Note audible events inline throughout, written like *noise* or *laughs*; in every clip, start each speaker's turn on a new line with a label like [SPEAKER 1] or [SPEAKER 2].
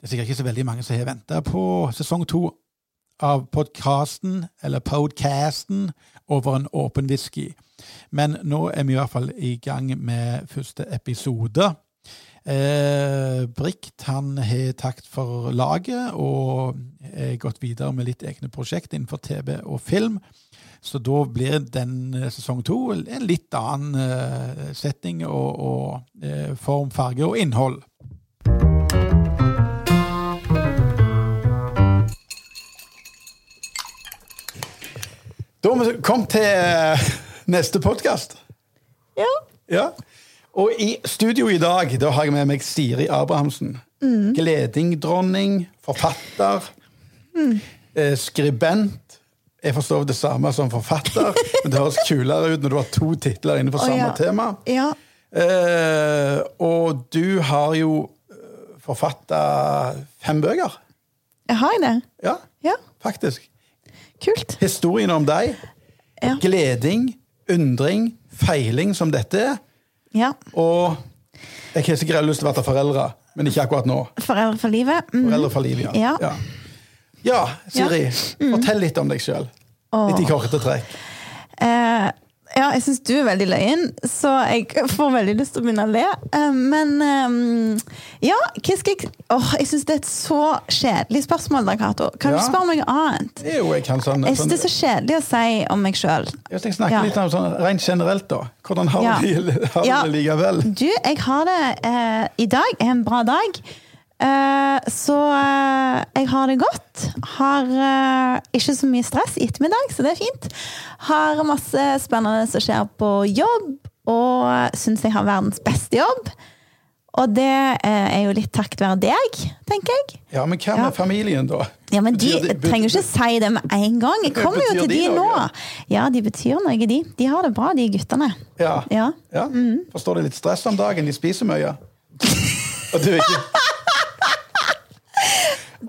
[SPEAKER 1] Det er sikkert ikke så veldig mange som har venta på sesong to av podkasten, eller podcasten, over en åpen whisky. Men nå er vi i hvert fall i gang med første episode. Eh, Brikt han har takt for laget og er gått videre med litt egne prosjekt innenfor TV og film. Så da blir den eh, sesong to en litt annen eh, setting og, og eh, form, farge og innhold. Da har vi kommet til eh, neste podkast.
[SPEAKER 2] Ja.
[SPEAKER 1] Ja. Og i studio i dag da har jeg med meg Siri Abrahamsen.
[SPEAKER 2] Mm.
[SPEAKER 1] Gledingdronning, forfatter,
[SPEAKER 2] Mm.
[SPEAKER 1] eh, skribent. Jeg forstår det samme som
[SPEAKER 2] *laughs*
[SPEAKER 1] forfatter, men det høres kulere ut når du har to titler innenfor
[SPEAKER 2] Å,
[SPEAKER 1] samme
[SPEAKER 2] ja.
[SPEAKER 1] tema.
[SPEAKER 2] ja.
[SPEAKER 1] Eh, og du har jo forfatta fem bøker.
[SPEAKER 2] Jeg har det.
[SPEAKER 1] Ja,
[SPEAKER 2] Ja.
[SPEAKER 1] faktisk.
[SPEAKER 2] Kult.
[SPEAKER 1] Historien om deg.
[SPEAKER 2] Ja.
[SPEAKER 1] Gleding, undring, feiling som dette er.
[SPEAKER 2] ja.
[SPEAKER 1] Og jeg har sikkert lyst til å være foreldre, men ikke akkurat nå.
[SPEAKER 2] Foreldre for livet. Mm.
[SPEAKER 1] Foreldre for livet, ja.
[SPEAKER 2] Ja. Mm.
[SPEAKER 1] Ja, ja Siri, fortell litt om deg sjøl. Litt i korte trekk.
[SPEAKER 2] Eh, ja, jeg syns du er veldig løyen, så jeg får veldig lyst til å begynne å le. Eh, men eh, ja, hva skal jeg Åh, Jeg syns det er et så kjedelig spørsmål, da, Cato. Kan
[SPEAKER 1] Ja.
[SPEAKER 2] du spørre om noe annet?
[SPEAKER 1] Det er jo jeg kan sånn,
[SPEAKER 2] Jeg
[SPEAKER 1] sånn
[SPEAKER 2] syns det er så kjedelig å si om meg sjøl.
[SPEAKER 1] Hvis jeg snakker
[SPEAKER 2] Ja.
[SPEAKER 1] litt om sånn rent generelt, da. Hvordan har
[SPEAKER 2] Ja.
[SPEAKER 1] du det har du
[SPEAKER 2] Ja.
[SPEAKER 1] det likevel?
[SPEAKER 2] Du, jeg har det eh, I dag er en bra dag. Eh, så eh, jeg har det godt. Har eh, ikke så mye stress i ettermiddag, så det er fint. Har masse spennende som skjer på jobb, og syns jeg har verdens beste jobb. Og det eh, er jo litt takket være deg, tenker jeg.
[SPEAKER 1] Ja, men hva med
[SPEAKER 2] Ja.
[SPEAKER 1] familien, da?
[SPEAKER 2] Ja, men De
[SPEAKER 1] Betyr det-
[SPEAKER 2] trenger jo ikke si det med en gang. Jeg kommer
[SPEAKER 1] Betyr
[SPEAKER 2] jo til
[SPEAKER 1] de
[SPEAKER 2] de
[SPEAKER 1] noe?
[SPEAKER 2] nå. Ja, de betyr noe, de. De har det bra, de guttene.
[SPEAKER 1] Ja.
[SPEAKER 2] Ja. Mm.
[SPEAKER 1] Ja. Forstår de litt stress om dagen? De spiser
[SPEAKER 2] *laughs*
[SPEAKER 1] mye. Og du er ikke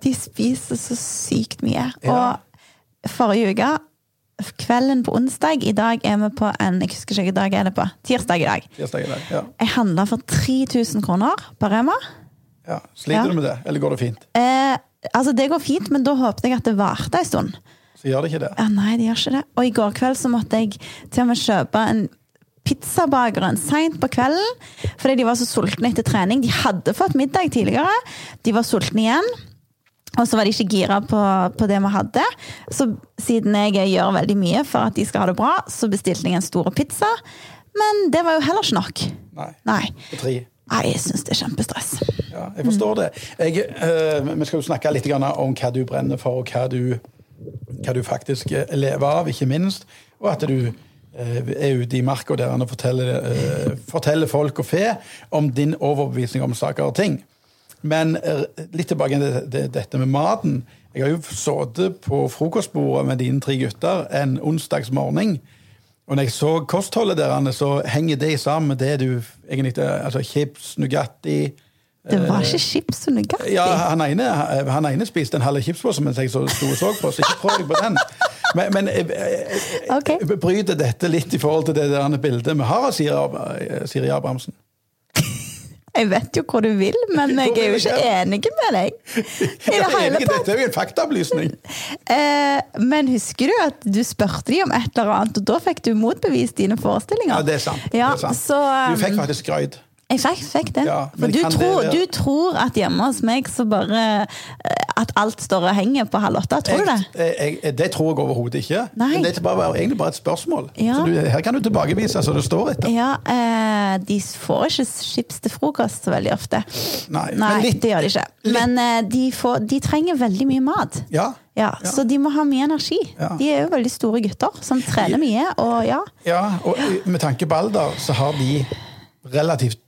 [SPEAKER 2] De spiser så sykt mye.
[SPEAKER 1] Ja.
[SPEAKER 2] Og forrige uke, kvelden på onsdag I dag er vi på en Jeg husker ikke hvilken dag er det på. Tirsdag i dag.
[SPEAKER 1] Tirsdag i dag. Ja.
[SPEAKER 2] Jeg handla for 3000 kroner på Rema.
[SPEAKER 1] Ja. Sliter
[SPEAKER 2] Ja.
[SPEAKER 1] du med det, eller går det fint?
[SPEAKER 2] Eh, altså Det går fint, men da håpet jeg at det varte en stund.
[SPEAKER 1] Så gjør det ikke det.
[SPEAKER 2] Ja, nei, det gjør ikke det. Og i går kveld så måtte jeg til og med kjøpe en pizzabakeren seint på kvelden. Fordi de var så sultne etter trening. De hadde fått middag tidligere. De var sultne igjen. Og så var de ikke gira på, på det vi hadde. Så siden jeg gjør veldig mye for at de skal ha det bra, så bestilte jeg en stor pizza. Men det var jo heller ikke nok.
[SPEAKER 1] Nei.
[SPEAKER 2] Nei.
[SPEAKER 1] På tre.
[SPEAKER 2] Nei, jeg syns det er kjempestress.
[SPEAKER 1] Ja, jeg forstår det. Jeg, eh, vi skal jo snakke litt grann om hva du brenner for, og hva du, hva du faktisk eh, lever av, ikke minst. Og at du eh, er ute i marka der og forteller, eh, forteller folk og fe om din overbevisning om saker og ting. Men eh, litt tilbake til det- det- dette med maten. Jeg har jo sittet på frokostbordet med dine tre gutter en onsdagsmorgen. Og når jeg så kostholdet deres, så henger det sammen med det du egentlig Altså chips, Nugatti
[SPEAKER 2] Det var ikke chips og Nugatti.
[SPEAKER 1] ja, han ene, han ene spiste en halv chipspose mens jeg så- sto og så på, så ikke prøv deg på den. Men, men jeg, jeg,
[SPEAKER 2] Ok.
[SPEAKER 1] jeg bryter dette litt i forhold til det der bildet vi har av Siri, Ab- eh, Siri Abrahamsen.
[SPEAKER 2] Jeg vet jo hvor du vil, men jeg er jo ikke enig med deg. I det
[SPEAKER 1] Jeg er enig,
[SPEAKER 2] hele tatt.
[SPEAKER 1] dette er jo en faktaopplysning.
[SPEAKER 2] Eh, Men husker du at du spurte de om et eller annet, og da fikk du motbevist dine forestillinger?
[SPEAKER 1] Ja, det er sant.
[SPEAKER 2] Ja,
[SPEAKER 1] det er sant.
[SPEAKER 2] Så, um,
[SPEAKER 1] du fikk faktisk skryt.
[SPEAKER 2] Jeg fikk, fikk det.
[SPEAKER 1] Ja, men
[SPEAKER 2] For du
[SPEAKER 1] kan det
[SPEAKER 2] tror,
[SPEAKER 1] være-
[SPEAKER 2] du tror at hjemme hos meg så bare eh, At alt står og henger på halv åtte. Tror du det?
[SPEAKER 1] Jeg, eh, jeg, jeg, det tror jeg overhodet ikke.
[SPEAKER 2] Nei.
[SPEAKER 1] Men det er bare, egentlig bare et spørsmål.
[SPEAKER 2] Ja.
[SPEAKER 1] Så du, eh, her kan du tilbakevise så det står etter.
[SPEAKER 2] Ja, eh, de får ikke chips til frokost så veldig ofte.
[SPEAKER 1] Nei, men litt-
[SPEAKER 2] det gjør de ikke. Men eh, de, får, de trenger veldig mye mat.
[SPEAKER 1] Ja.
[SPEAKER 2] Ja,
[SPEAKER 1] Ja.
[SPEAKER 2] Så de må ha mye energi.
[SPEAKER 1] Ja.
[SPEAKER 2] De er jo veldig store gutter som trener mye. Og ja,
[SPEAKER 1] Ja, og eh, med tanke på alder, så har de relativt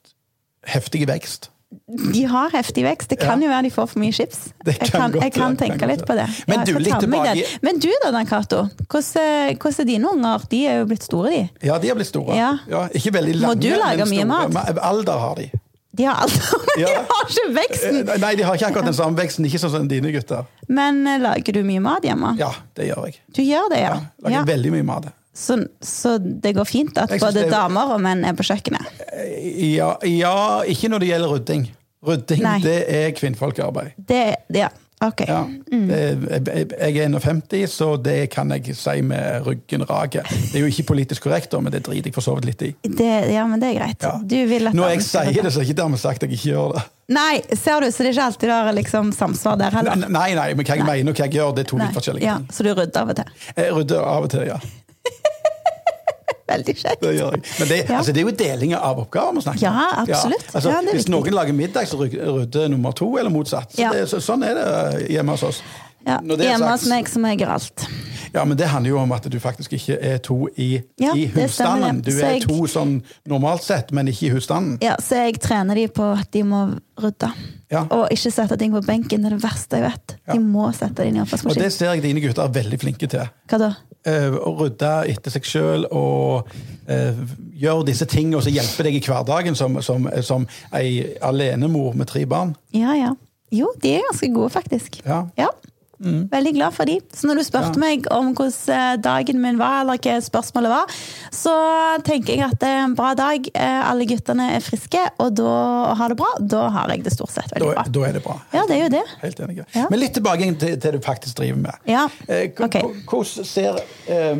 [SPEAKER 1] heftig vekst.
[SPEAKER 2] de har heftig vekst. Det kan
[SPEAKER 1] Ja.
[SPEAKER 2] jo være de får for mye chips.
[SPEAKER 1] *laughs* Det
[SPEAKER 2] jeg
[SPEAKER 1] kan
[SPEAKER 2] kan,
[SPEAKER 1] godt
[SPEAKER 2] jeg kan
[SPEAKER 1] være, kan
[SPEAKER 2] tenke
[SPEAKER 1] godt
[SPEAKER 2] litt på det.
[SPEAKER 1] være. Men
[SPEAKER 2] Ja, jeg
[SPEAKER 1] du,
[SPEAKER 2] skal
[SPEAKER 1] litt
[SPEAKER 2] ta med meg
[SPEAKER 1] tilbake-
[SPEAKER 2] den. Men du da, Dan Cato. Hvordan, eh, hvordan er dine unger? De er jo blitt store, de.
[SPEAKER 1] Ja, de har blitt store.
[SPEAKER 2] Ja.
[SPEAKER 1] ikke veldig lange,
[SPEAKER 2] du lage
[SPEAKER 1] men
[SPEAKER 2] mye
[SPEAKER 1] store.
[SPEAKER 2] mat?
[SPEAKER 1] Ma- Alder har de.
[SPEAKER 2] De har alt, men *laughs* de
[SPEAKER 1] Ja.
[SPEAKER 2] har ikke veksten!
[SPEAKER 1] Eh, Nei, de har ikke akkurat den samme veksten. Ikke sånn som dine gutter.
[SPEAKER 2] Men eh, lager du mye mat hjemme?
[SPEAKER 1] Ja, det gjør jeg.
[SPEAKER 2] Du gjør det, ja?
[SPEAKER 1] Ja, lager
[SPEAKER 2] ja.
[SPEAKER 1] veldig mye mat.
[SPEAKER 2] Så, så det går fint at
[SPEAKER 1] Jeg synes
[SPEAKER 2] både
[SPEAKER 1] det er-
[SPEAKER 2] damer og menn er på kjøkkenet?
[SPEAKER 1] Eh, Ja, ja, ikke når det gjelder rydding. Rydding,
[SPEAKER 2] Nei.
[SPEAKER 1] det er kvinnfolkarbeid.
[SPEAKER 2] Det, ja, ok.
[SPEAKER 1] Ja.
[SPEAKER 2] Mm.
[SPEAKER 1] Det, jeg, jeg- jeg er 51, så det kan jeg si med ryggen raket. Det er jo ikke politisk korrekt, da, men det driter jeg for så vidt litt i.
[SPEAKER 2] Det, ja, men det er greit.
[SPEAKER 1] Ja.
[SPEAKER 2] Du vil at
[SPEAKER 1] Når
[SPEAKER 2] alle
[SPEAKER 1] jeg
[SPEAKER 2] skal
[SPEAKER 1] sier
[SPEAKER 2] jobbe.
[SPEAKER 1] det, så er ikke dermed sagt at jeg ikke gjør det.
[SPEAKER 2] Nei, ser du, så det er ikke alltid det er liksom samsvar der heller.
[SPEAKER 1] Nei, nei, men hva jeg mener og hva jeg gjør, det er to
[SPEAKER 2] Nei.
[SPEAKER 1] litt forskjellige
[SPEAKER 2] Ja,
[SPEAKER 1] ting.
[SPEAKER 2] så du rydder av og til.
[SPEAKER 1] Jeg rydder av og til, ja.
[SPEAKER 2] Veldig kjekt.
[SPEAKER 1] Det gjør jeg. Men det,
[SPEAKER 2] Ja.
[SPEAKER 1] altså, det er jo deling av oppgaver vi snakker om.
[SPEAKER 2] Ja, absolutt.
[SPEAKER 1] Altså,
[SPEAKER 2] Ja, det er
[SPEAKER 1] hvis
[SPEAKER 2] viktig.
[SPEAKER 1] noen lager middag, så ryk- rydder nummer to, eller motsatt. Så
[SPEAKER 2] Ja.
[SPEAKER 1] det, så, sånn er det eh, hjemme hos oss.
[SPEAKER 2] Ja.
[SPEAKER 1] Når det er
[SPEAKER 2] Hjemme
[SPEAKER 1] sagt-
[SPEAKER 2] hos meg som jeg gjør alt.
[SPEAKER 1] Ja, men det handler jo om at du faktisk ikke er to i,
[SPEAKER 2] Ja,
[SPEAKER 1] i
[SPEAKER 2] det stemmer
[SPEAKER 1] husstanden.
[SPEAKER 2] det.
[SPEAKER 1] Du
[SPEAKER 2] Så
[SPEAKER 1] er
[SPEAKER 2] jeg-
[SPEAKER 1] to sånn normalt sett, men ikke i husstanden.
[SPEAKER 2] Ja, så jeg trener de på at de må rydde.
[SPEAKER 1] Ja.
[SPEAKER 2] Og ikke sette ting på benken. Det er det verste jeg vet.
[SPEAKER 1] Ja.
[SPEAKER 2] De må sette det inn i
[SPEAKER 1] Og det
[SPEAKER 2] oppvaskmaskinen.
[SPEAKER 1] ser jeg dine gutter er veldig flinke til.
[SPEAKER 2] Hva da?
[SPEAKER 1] Eh, Å rydde etter seg sjøl og eh, gjøre disse tingene og så hjelpe deg i hverdagen som, som, som ei alenemor med tre barn.
[SPEAKER 2] Ja, ja. Jo, de er ganske gode, faktisk.
[SPEAKER 1] Ja. Mm.
[SPEAKER 2] Ja. Veldig glad for de. Så når du spurte
[SPEAKER 1] Ja.
[SPEAKER 2] meg om hvordan eh, dagen min var, eller hva spørsmålet var, så tenker jeg at det er en bra dag. Eh, Alle guttene er friske, og da og har det bra. Da har jeg det stort sett veldig
[SPEAKER 1] Da,
[SPEAKER 2] bra.
[SPEAKER 1] da er det bra.
[SPEAKER 2] Ja, det er jo det.
[SPEAKER 1] Helt enig.
[SPEAKER 2] Ja.
[SPEAKER 1] Men litt tilbake til, til det du faktisk driver med.
[SPEAKER 2] Ja,
[SPEAKER 1] Eh, k-
[SPEAKER 2] ok.
[SPEAKER 1] k- Hvordan ser eh,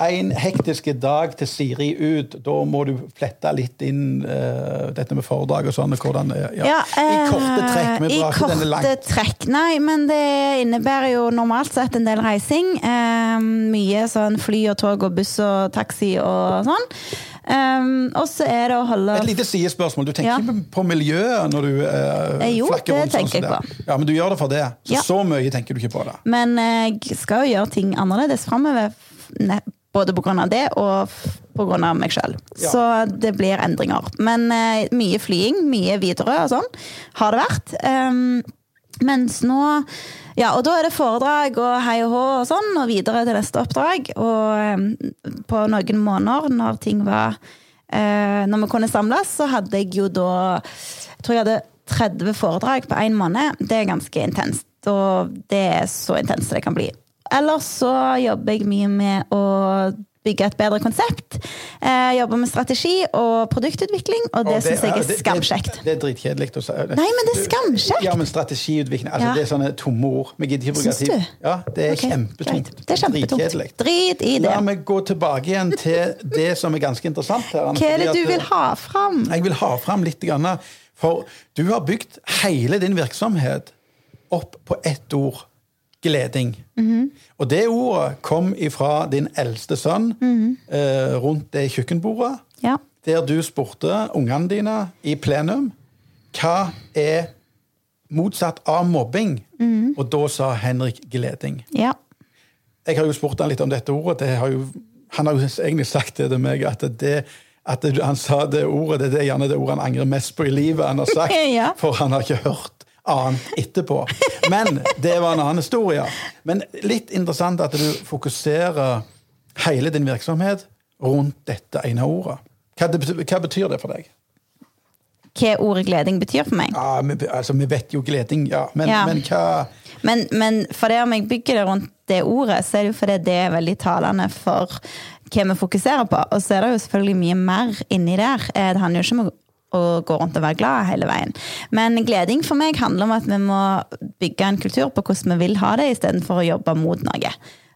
[SPEAKER 1] en hektisk dag til Siri ut? Da må du flette litt inn eh, dette med fordag og sånn. og hvordan, eh, ja.
[SPEAKER 2] Ja,
[SPEAKER 1] I korte
[SPEAKER 2] eh,
[SPEAKER 1] trekk. Vi
[SPEAKER 2] i
[SPEAKER 1] drar ikke denne
[SPEAKER 2] korte
[SPEAKER 1] langt.
[SPEAKER 2] trekk, Nei, men det innebærer jo normalt sett en del reising. Eh, mye sånn fly og tog og buss og taxi og sånn. Eh, og så er det å holde
[SPEAKER 1] Et lite sidespørsmål. Du tenker
[SPEAKER 2] Ja.
[SPEAKER 1] ikke på miljøet når du eh,
[SPEAKER 2] Eh, jo, det
[SPEAKER 1] flakker rundt sånn
[SPEAKER 2] tenker
[SPEAKER 1] som
[SPEAKER 2] jeg
[SPEAKER 1] det. Ja, Men du gjør det for det. Så
[SPEAKER 2] Ja.
[SPEAKER 1] så mye tenker du ikke på det.
[SPEAKER 2] Men jeg skal jo gjøre ting annerledes framover. Både pga. det og f- på grunn av meg sjøl.
[SPEAKER 1] Ja.
[SPEAKER 2] Så det blir endringer. Men eh, mye flying, mye Widerøe og sånn har det vært. Um, mens nå Ja, og da er det foredrag og hei og hå og sånn, og videre til neste oppdrag. Og um, på noen måneder, når ting var eh, Når vi kunne samles, så hadde jeg jo da Jeg tror jeg hadde 30 foredrag på én måned. Det er ganske intenst. Og det er så intenst det kan bli. Ellers så jobber jeg mye med å bygge et bedre konsept. Eh, jobber med strategi og produktutvikling, og det,
[SPEAKER 1] Og
[SPEAKER 2] syns
[SPEAKER 1] ja,
[SPEAKER 2] jeg er skamkjekt.
[SPEAKER 1] Det, det er dritkjedelig å si.
[SPEAKER 2] Nei, men det er skamkjekt.
[SPEAKER 1] Ja, men strategiutvikling altså,
[SPEAKER 2] Ja.
[SPEAKER 1] Det er sånne tomme ord. Vi gidder ikke bruke
[SPEAKER 2] Syns
[SPEAKER 1] tid.
[SPEAKER 2] du?
[SPEAKER 1] Ja, det er
[SPEAKER 2] Ok,
[SPEAKER 1] kjempetungt.
[SPEAKER 2] greit. Det er
[SPEAKER 1] Dritkjedelig.
[SPEAKER 2] kjempetungt. Drit i det.
[SPEAKER 1] La meg gå tilbake igjen til det som er ganske interessant her. Anne,
[SPEAKER 2] Hva er det
[SPEAKER 1] fordi at,
[SPEAKER 2] du
[SPEAKER 1] eh,
[SPEAKER 2] vil ha fram?
[SPEAKER 1] Jeg vil ha fram litt, grann, for du har bygd hele din virksomhet opp på ett ord. Gleding.
[SPEAKER 2] Mhm.
[SPEAKER 1] Og det ordet kom ifra din eldste sønn
[SPEAKER 2] Mhm.
[SPEAKER 1] eh, rundt det kjøkkenbordet
[SPEAKER 2] Ja.
[SPEAKER 1] der du spurte ungene dine i plenum hva er motsatt av mobbing. Og da sa Henrik Gleding.
[SPEAKER 2] ja.
[SPEAKER 1] Jeg har jo spurt han litt om dette ordet. Det har jo, han har jo egentlig sagt det til meg at det at det- han sa det ordet, det er gjerne det ordet han angrer mest på i livet. han har
[SPEAKER 2] *laughs*
[SPEAKER 1] sagt,
[SPEAKER 2] Ja.
[SPEAKER 1] For han har ikke hørt annet etterpå. Men det var en annen historie. Men litt interessant at du fokuserer hele din virksomhet rundt dette ene ordet. Hva, det, bety- hva betyr det for deg?
[SPEAKER 2] Hva ordet gleding betyr for meg.
[SPEAKER 1] Ja, vi, altså, vi vet jo gleding, ja. Men,
[SPEAKER 2] Ja.
[SPEAKER 1] men hva
[SPEAKER 2] Men, men for det om jeg bygger det rundt det ordet, så er det jo fordi det er veldig talende for hva vi fokuserer på. Og så er det jo selvfølgelig mye mer inni der. Eh, Det handler jo ikke om å å gå rundt og være glad hele veien. Men gleding for meg handler om at vi må bygge en kultur på hvordan vi vil ha det, istedenfor å jobbe mot noe.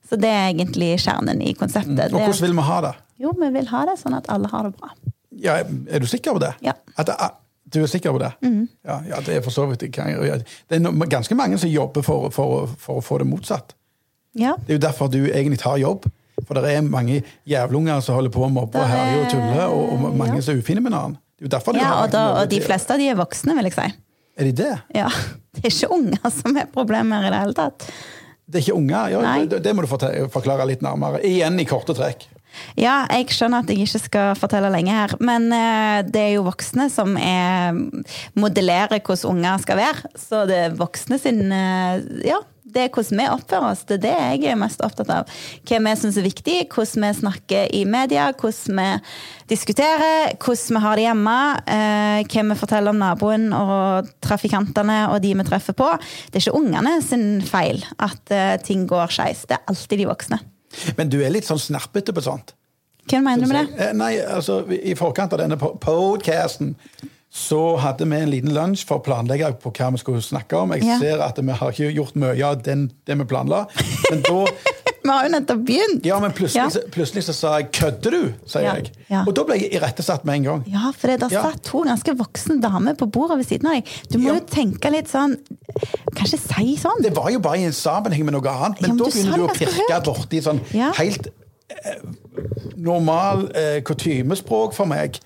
[SPEAKER 2] Så det er egentlig kjernen i konseptet.
[SPEAKER 1] Mm. Og hvordan
[SPEAKER 2] Det,
[SPEAKER 1] vil vi ha det?
[SPEAKER 2] jo, vi vil ha det sånn at alle har det bra.
[SPEAKER 1] Ja, er du sikker på det?
[SPEAKER 2] Ja. Mhm.
[SPEAKER 1] At det er, du er sikker på det? Ja, ja, det er for så vidt det kan, ja, Det er no- ganske mange som jobber for, for, for å få det motsatt.
[SPEAKER 2] Ja.
[SPEAKER 1] Det er jo derfor du egentlig tar jobb. For det er mange jævlunger som holder på å mobbe og
[SPEAKER 2] Der er-
[SPEAKER 1] herje og tulle, og, og mange
[SPEAKER 2] ja.
[SPEAKER 1] som er ufine med hverandre. Det er jo derfor du
[SPEAKER 2] Ja,
[SPEAKER 1] har
[SPEAKER 2] og, da,
[SPEAKER 1] mange-
[SPEAKER 2] og de fleste av de er voksne, vil jeg si.
[SPEAKER 1] Er de det?
[SPEAKER 2] Ja, *laughs* Det er ikke unger som er problemer i det hele tatt.
[SPEAKER 1] Det er ikke unger? Ja,
[SPEAKER 2] Nei.
[SPEAKER 1] det, det må du forte- forklare litt nærmere. Igjen i korte trekk.
[SPEAKER 2] Ja, jeg skjønner at jeg ikke skal fortelle lenge her, men eh, det er jo voksne som er, modellerer hvordan unger skal være. Så det er voksne sin eh, Ja, det er hvordan vi oppfører oss. Det er det jeg er mest opptatt av. Hva vi syns er viktig, hvordan vi snakker i media, hvordan vi diskuterer, hvordan vi har det hjemme, eh, hva vi forteller om naboen og trafikantene og de vi treffer på. Det er ikke ungene sin feil at eh, ting går skeis. Det er alltid de voksne.
[SPEAKER 1] Men du er litt sånn snerpete på sånt.
[SPEAKER 2] Hvem mener du med det?
[SPEAKER 1] Eh, Nei, altså, i forkant av denne podkasten så hadde vi en liten lunsj for å planlegge på hva vi skulle snakke om. Jeg
[SPEAKER 2] Ja.
[SPEAKER 1] ser at vi har ikke gjort mye av den, det vi planla. Men
[SPEAKER 2] *laughs*
[SPEAKER 1] da
[SPEAKER 2] Vi har jo nettopp begynt.
[SPEAKER 1] ja, men plutselig,
[SPEAKER 2] Ja.
[SPEAKER 1] så- plutselig så sa jeg 'kødder du?' sier
[SPEAKER 2] Ja.
[SPEAKER 1] jeg.
[SPEAKER 2] Ja.
[SPEAKER 1] Og da ble jeg irettesatt med en gang.
[SPEAKER 2] Ja, for det der
[SPEAKER 1] Ja.
[SPEAKER 2] satt to ganske voksne damer på bordet ved siden av deg. Du må
[SPEAKER 1] Ja.
[SPEAKER 2] jo tenke litt sånn Kanskje si sånn?
[SPEAKER 1] Det var jo bare i en sammenheng med noe annet, men,
[SPEAKER 2] Ja, men
[SPEAKER 1] da
[SPEAKER 2] du sa
[SPEAKER 1] begynner du å
[SPEAKER 2] det ganske
[SPEAKER 1] pirke
[SPEAKER 2] høyt.
[SPEAKER 1] borti sånn
[SPEAKER 2] Ja.
[SPEAKER 1] helt eh, normal eh, kutymespråk for meg.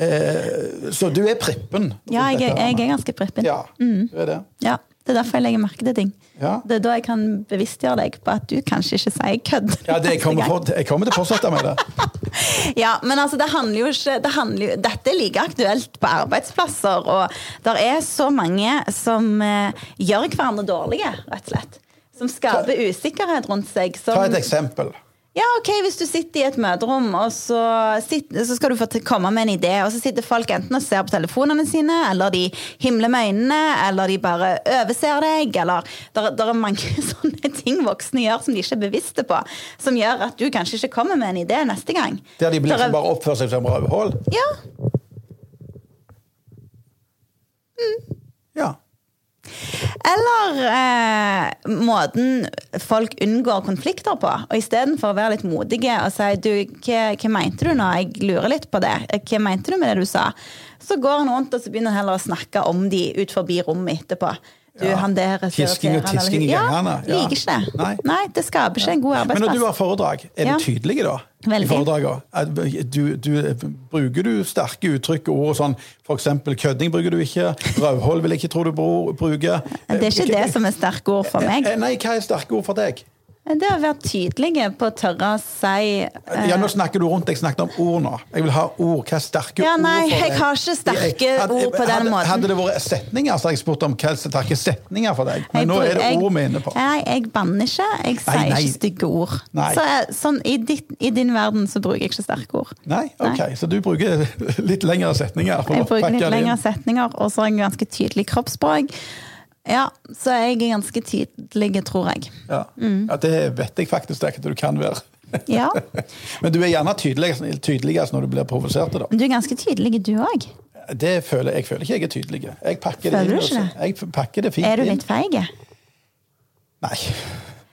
[SPEAKER 1] Eh, så du er prippen.
[SPEAKER 2] Ja,
[SPEAKER 1] rundt
[SPEAKER 2] jeg,
[SPEAKER 1] dette,
[SPEAKER 2] er-
[SPEAKER 1] Anna.
[SPEAKER 2] jeg er ganske prippen.
[SPEAKER 1] Ja, du er det.
[SPEAKER 2] Ja, Det er derfor jeg legger merke til ting.
[SPEAKER 1] Ja.
[SPEAKER 2] Det er da jeg kan bevisstgjøre deg på at du kanskje ikke sier kødd.
[SPEAKER 1] Ja, det, jeg,
[SPEAKER 2] neste
[SPEAKER 1] kommer
[SPEAKER 2] gang.
[SPEAKER 1] for, jeg kommer til å fortsette med det.
[SPEAKER 2] Ja, men altså, det handler jo ikke det handler jo, Dette er like aktuelt på arbeidsplasser, og det er så mange som eh, gjør hverandre dårlige, rett og slett. Som skaper usikkerhet rundt seg. Som,
[SPEAKER 1] Ta et eksempel.
[SPEAKER 2] ja, ok, Hvis du sitter i et møterom, og så, sitter, så skal du få til- komme med en idé, og så sitter folk enten og ser på telefonene sine, eller de himler med øynene, eller de bare overser deg, eller Det er mange *laughs* sånne ting voksne gjør som de ikke er bevisste på, som gjør at du kanskje ikke kommer med en idé neste gang.
[SPEAKER 1] Der de
[SPEAKER 2] Der er-
[SPEAKER 1] liksom bare oppfører seg som røvhål.
[SPEAKER 2] Ja,
[SPEAKER 1] Ja.
[SPEAKER 2] Eller eh, måten folk unngår konflikter på. Og istedenfor å være litt modige og si du, hva, hva mente du nå? Jeg lurer litt på det. Hva mente du med det du sa? Så går han rundt og så begynner han heller å snakke om de ut forbi rommet etterpå. Du,
[SPEAKER 1] Ja.
[SPEAKER 2] han der er så
[SPEAKER 1] Tisking og
[SPEAKER 2] irriterende, eller-
[SPEAKER 1] tisking i gjengene,
[SPEAKER 2] Ja,
[SPEAKER 1] ja.
[SPEAKER 2] liker ikke det.
[SPEAKER 1] Nei.
[SPEAKER 2] det skaper ikke en god
[SPEAKER 1] Men når
[SPEAKER 2] arbeidsplass.
[SPEAKER 1] du har foredrag, er
[SPEAKER 2] Ja.
[SPEAKER 1] du tydelig da?
[SPEAKER 2] Veldig.
[SPEAKER 1] I foredragene? At Du, du, bruker du sterke uttrykk og ord sånn for eksempel kødding bruker du ikke, røvhold vil jeg ikke tro du bro- bruker.
[SPEAKER 2] Det er ikke det som er sterke ord for
[SPEAKER 1] *laughs*
[SPEAKER 2] meg.
[SPEAKER 1] Eh, Nei, hva er sterke ord for deg?
[SPEAKER 2] Det å være tydelige på å tørre å si eh,
[SPEAKER 1] Ja, nå snakker du rundt, jeg snakker om ord nå. Jeg vil ha ord, hva er sterke
[SPEAKER 2] Ja, nei,
[SPEAKER 1] ord for deg?
[SPEAKER 2] jeg har ikke sterke ord på den
[SPEAKER 1] hadde,
[SPEAKER 2] måten.
[SPEAKER 1] Hadde det vært setninger, så hadde jeg spurt om hva er sterke setninger for deg. Men nå
[SPEAKER 2] bru-
[SPEAKER 1] er det
[SPEAKER 2] jeg- Eh,
[SPEAKER 1] ord vi er inne på.
[SPEAKER 2] Nei, jeg banner ikke. Jeg sier
[SPEAKER 1] nei.
[SPEAKER 2] ikke stygge ord.
[SPEAKER 1] Nei.
[SPEAKER 2] Så, eh, sånn, i, ditt, I din verden så bruker jeg ikke sterke ord.
[SPEAKER 1] Nei, ok, så du bruker *laughs* litt lengre setninger. for å
[SPEAKER 2] Jeg bruker
[SPEAKER 1] pakke
[SPEAKER 2] litt
[SPEAKER 1] det inn.
[SPEAKER 2] lengre setninger, og så har jeg ganske tydelig kroppsspråk. Ja, så jeg er ganske tydelig, tror jeg.
[SPEAKER 1] Ja.
[SPEAKER 2] Mm.
[SPEAKER 1] ja, det vet jeg faktisk det er ikke at du kan være. *laughs*
[SPEAKER 2] Ja.
[SPEAKER 1] Men du er gjerne tydeligst, tydeligst når du blir provosert. da.
[SPEAKER 2] Men du er ganske tydelig, du òg.
[SPEAKER 1] Det føler, jeg føler ikke jeg er tydelig. Jeg pakker det inn.
[SPEAKER 2] Føler du
[SPEAKER 1] og så-
[SPEAKER 2] ikke
[SPEAKER 1] Jeg pakker det fint
[SPEAKER 2] Er du
[SPEAKER 1] inn.
[SPEAKER 2] litt feig?
[SPEAKER 1] Nei.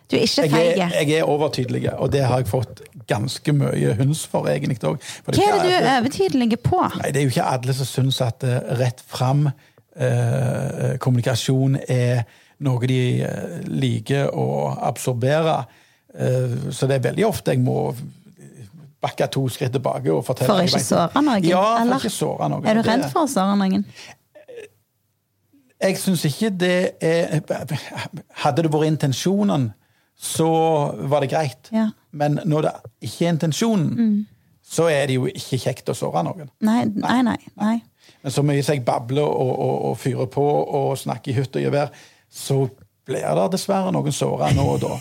[SPEAKER 2] Du er ikke
[SPEAKER 1] Jeg er,
[SPEAKER 2] feig.
[SPEAKER 1] jeg er overtydelig, og det har jeg fått ganske mye hunds for egentlig òg.
[SPEAKER 2] Hva er det du er overtydelig på?
[SPEAKER 1] Nei, det er jo ikke alle som syns at eh, rett fram eh, kommunikasjon er noe de eh, liker å absorbere. Eh, så det er veldig ofte jeg må bakke to skritt tilbake og fortelle
[SPEAKER 2] For å ikke såre noen?
[SPEAKER 1] Ja,
[SPEAKER 2] eller?
[SPEAKER 1] for ikke såre noen.
[SPEAKER 2] Er du
[SPEAKER 1] Det-
[SPEAKER 2] redd for å såre noen?
[SPEAKER 1] jeg syns ikke det er Hadde det vært intensjonen, så var det greit.
[SPEAKER 2] Ja. Mm.
[SPEAKER 1] Men når det ikke er intensjonen, så er det jo ikke kjekt å såre noen.
[SPEAKER 2] Nei, nei, nei. nei.
[SPEAKER 1] Men så mye som jeg babler og, og, og fyrer på og snakker i hytt og gevær, så blir det dessverre noen såra nå og da.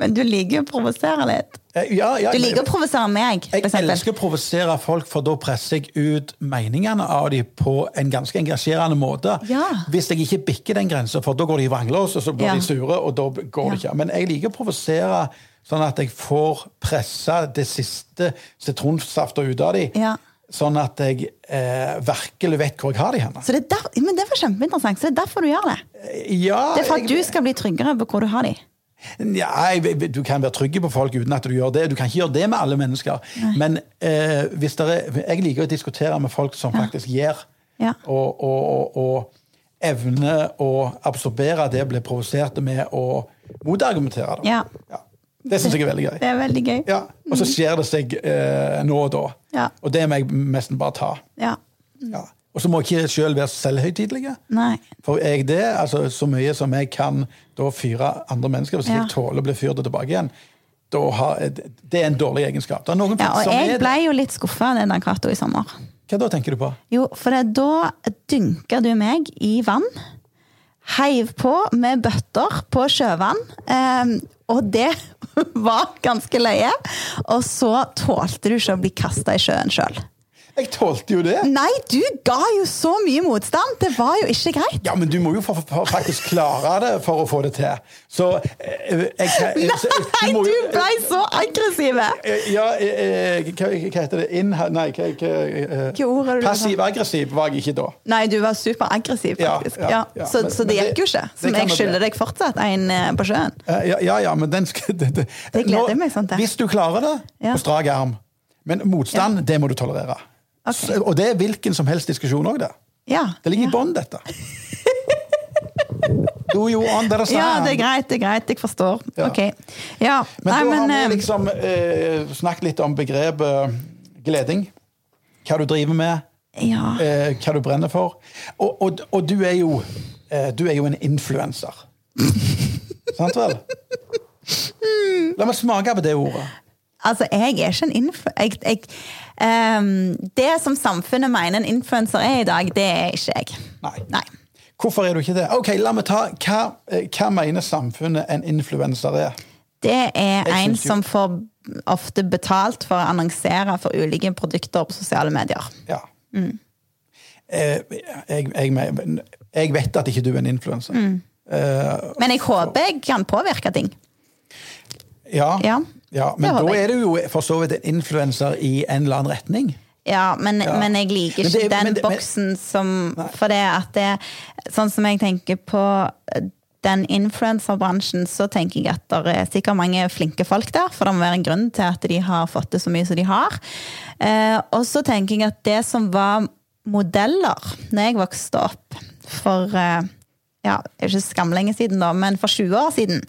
[SPEAKER 2] Men du liker jo å provosere litt.
[SPEAKER 1] Eh, Ja, ja,
[SPEAKER 2] Du liker å provosere meg, for
[SPEAKER 1] Jeg
[SPEAKER 2] eksempel.
[SPEAKER 1] elsker å provosere folk, for da presser jeg ut meningene av dem på en ganske engasjerende måte.
[SPEAKER 2] Ja.
[SPEAKER 1] Hvis jeg ikke bikker den grensa, for da går de i vranglås, og så blir
[SPEAKER 2] Ja.
[SPEAKER 1] de sure, og da går det
[SPEAKER 2] Ja.
[SPEAKER 1] ikke. Men jeg liker å provosere sånn at jeg får pressa det siste sitronsafta ut av dem.
[SPEAKER 2] Ja.
[SPEAKER 1] Sånn at jeg eh, virkelig vet hvor jeg har de hen.
[SPEAKER 2] Så det er der, men det var kjempeinteressant, så det er derfor du gjør det.
[SPEAKER 1] Ja,
[SPEAKER 2] Det er for at
[SPEAKER 1] jeg-
[SPEAKER 2] du skal bli tryggere på hvor du har de.
[SPEAKER 1] Nei, du kan være trygg på folk uten at du gjør det. Du kan ikke gjøre det med alle mennesker. Men eh, hvis der er, jeg liker å diskutere med folk som faktisk gjør,
[SPEAKER 2] Ja.
[SPEAKER 1] og, og, og, og evner å absorbere det blir provosert med å motargumentere det.
[SPEAKER 2] Ja.
[SPEAKER 1] Ja. Det syns jeg er veldig gøy.
[SPEAKER 2] Det er veldig gøy.
[SPEAKER 1] Ja. Og så skjer det seg eh, nå og da.
[SPEAKER 2] Ja. Mm.
[SPEAKER 1] Og det må jeg nesten bare ta.
[SPEAKER 2] Ja.
[SPEAKER 1] Ja. Og så må jeg ikke sjøl være selvhøytidelig.
[SPEAKER 2] Nei.
[SPEAKER 1] For jeg det, altså så mye som jeg kan da fyre andre mennesker, hvis
[SPEAKER 2] Ja.
[SPEAKER 1] jeg tåler å bli fyrt tilbake igjen, da har, det er en dårlig egenskap. Det er noen
[SPEAKER 2] Ja,
[SPEAKER 1] folk
[SPEAKER 2] og
[SPEAKER 1] som
[SPEAKER 2] jeg
[SPEAKER 1] er
[SPEAKER 2] ble
[SPEAKER 1] det.
[SPEAKER 2] jo litt skuffa av den der Cato i sommer.
[SPEAKER 1] Hva da tenker du på?
[SPEAKER 2] Jo, for det, da dynker du meg i vann. Heiv på med bøtter på sjøvann. Eh, og det *laughs* var ganske løye. Og så tålte du ikke å bli kasta i sjøen sjøl.
[SPEAKER 1] Jeg tålte jo det.
[SPEAKER 2] Nei, du ga jo så mye motstand! Det var jo ikke greit.
[SPEAKER 1] Ja, men du må jo fa- fa- faktisk klare det for å få det til. Så eh, jeg, jeg,
[SPEAKER 2] *laughs* Nei,
[SPEAKER 1] må
[SPEAKER 2] du
[SPEAKER 1] jo-
[SPEAKER 2] ble så aggressiv!
[SPEAKER 1] Eh, Ja, eh, eh, hva, hva heter det? Inha, nei, hva, hva, eh,
[SPEAKER 2] Hvilke ord er det du
[SPEAKER 1] Passiv-aggressiv var jeg ikke da.
[SPEAKER 2] Nei, du var superaggressiv,
[SPEAKER 1] Ja,
[SPEAKER 2] faktisk.
[SPEAKER 1] ja,
[SPEAKER 2] Ja,
[SPEAKER 1] ja.
[SPEAKER 2] Så,
[SPEAKER 1] Men-
[SPEAKER 2] så
[SPEAKER 1] men
[SPEAKER 2] det
[SPEAKER 1] det-
[SPEAKER 2] gikk jo ikke.
[SPEAKER 1] det
[SPEAKER 2] Som
[SPEAKER 1] kan
[SPEAKER 2] jeg
[SPEAKER 1] vi
[SPEAKER 2] skylder
[SPEAKER 1] bli.
[SPEAKER 2] deg fortsatt en eh, på sjøen.
[SPEAKER 1] Eh, Ja, ja, ja, men den skal *laughs* Det, det-
[SPEAKER 2] Det gleder
[SPEAKER 1] Nå-
[SPEAKER 2] jeg meg sånn til.
[SPEAKER 1] Hvis du klarer det,
[SPEAKER 2] Ja.
[SPEAKER 1] på strak arm. Men motstand, det må du tolerere.
[SPEAKER 2] Ok.
[SPEAKER 1] S- Og det er hvilken som helst diskusjon òg, det.
[SPEAKER 2] Ja.
[SPEAKER 1] Det ligger i
[SPEAKER 2] ja.
[SPEAKER 1] bånn, dette.
[SPEAKER 2] *laughs*
[SPEAKER 1] Do you understand?
[SPEAKER 2] ja, det er greit, det er greit. Jeg forstår.
[SPEAKER 1] Ja.
[SPEAKER 2] Ok. Ja,
[SPEAKER 1] Men
[SPEAKER 2] nei,
[SPEAKER 1] da
[SPEAKER 2] men
[SPEAKER 1] har
[SPEAKER 2] eh,
[SPEAKER 1] vi liksom eh, snakket litt om begrepet gleding. Hva du driver med,
[SPEAKER 2] Ja.
[SPEAKER 1] eh, hva du brenner for. Og, og, og du er jo eh, du er jo en influenser. *laughs* Sant vel? La meg smake på det ordet.
[SPEAKER 2] Altså, jeg er ikke en influ... Jeg, jeg, ehm, det som samfunnet mener en influenser er i dag, det er ikke jeg.
[SPEAKER 1] Nei.
[SPEAKER 2] Nei.
[SPEAKER 1] Hvorfor er du ikke det? Ok, la meg ta, Hva, eh, hva mener samfunnet en influenser er?
[SPEAKER 2] Det er
[SPEAKER 1] Jeg
[SPEAKER 2] en
[SPEAKER 1] syns jo-
[SPEAKER 2] som får ofte betalt for å annonsere for ulike produkter på sosiale medier.
[SPEAKER 1] Ja.
[SPEAKER 2] Mm.
[SPEAKER 1] Eh, jeg, jeg, men jeg vet at ikke du er en influenser.
[SPEAKER 2] Mm.
[SPEAKER 1] Eh,
[SPEAKER 2] Men jeg håper jeg kan påvirke ting.
[SPEAKER 1] Ja,
[SPEAKER 2] Ja.
[SPEAKER 1] ja, men
[SPEAKER 2] Det
[SPEAKER 1] da
[SPEAKER 2] håper jeg.
[SPEAKER 1] er du jo for så vidt en influenser i en eller annen retning.
[SPEAKER 2] Ja, men,
[SPEAKER 1] Ja.
[SPEAKER 2] men jeg liker
[SPEAKER 1] Men
[SPEAKER 2] ikke
[SPEAKER 1] det er-
[SPEAKER 2] den
[SPEAKER 1] men det- men-
[SPEAKER 2] boksen som For det at det Sånn som jeg tenker på eh, den influenserbransjen, så tenker jeg at det er sikkert mange flinke folk der, for det må være en grunn til at de har fått det så mye som de har. Eh, og så tenker jeg at det som var modeller når jeg vokste opp for eh, ja, det er ikke skamlenge siden da, men for 20 år siden,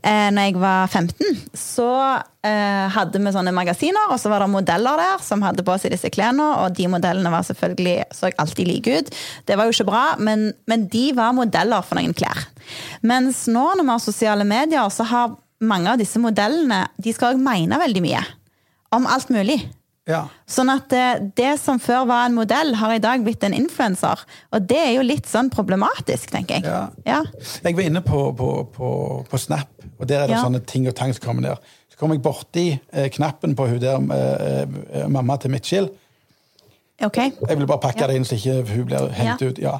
[SPEAKER 2] eh, når jeg var 15, så eh, hadde vi sånne magasiner, og så var det modeller der som hadde på seg disse klærne, og de modellene var selvfølgelig, så alltid like ut. Det var jo ikke bra, men, men de var modeller for noen klær. Mens nå når vi har sosiale medier, så har mange av disse modellene, de skal også mene veldig mye om alt mulig.
[SPEAKER 1] Ja.
[SPEAKER 2] Sånn at det, det som før var en modell, har i dag blitt en influenser. Og det er jo litt sånn problematisk, tenker jeg.
[SPEAKER 1] Ja.
[SPEAKER 2] Ja.
[SPEAKER 1] Jeg var inne på, på, på, på Snap, og der er det
[SPEAKER 2] Ja.
[SPEAKER 1] sånne ting og tang som kommer der. Så kom jeg borti eh, knappen på hun der eh, eh, mamma til Mitchell.
[SPEAKER 2] Ok.
[SPEAKER 1] Jeg ville bare pakke det inn så ikke hun blir hengt
[SPEAKER 2] Ja.
[SPEAKER 1] ut. Ja.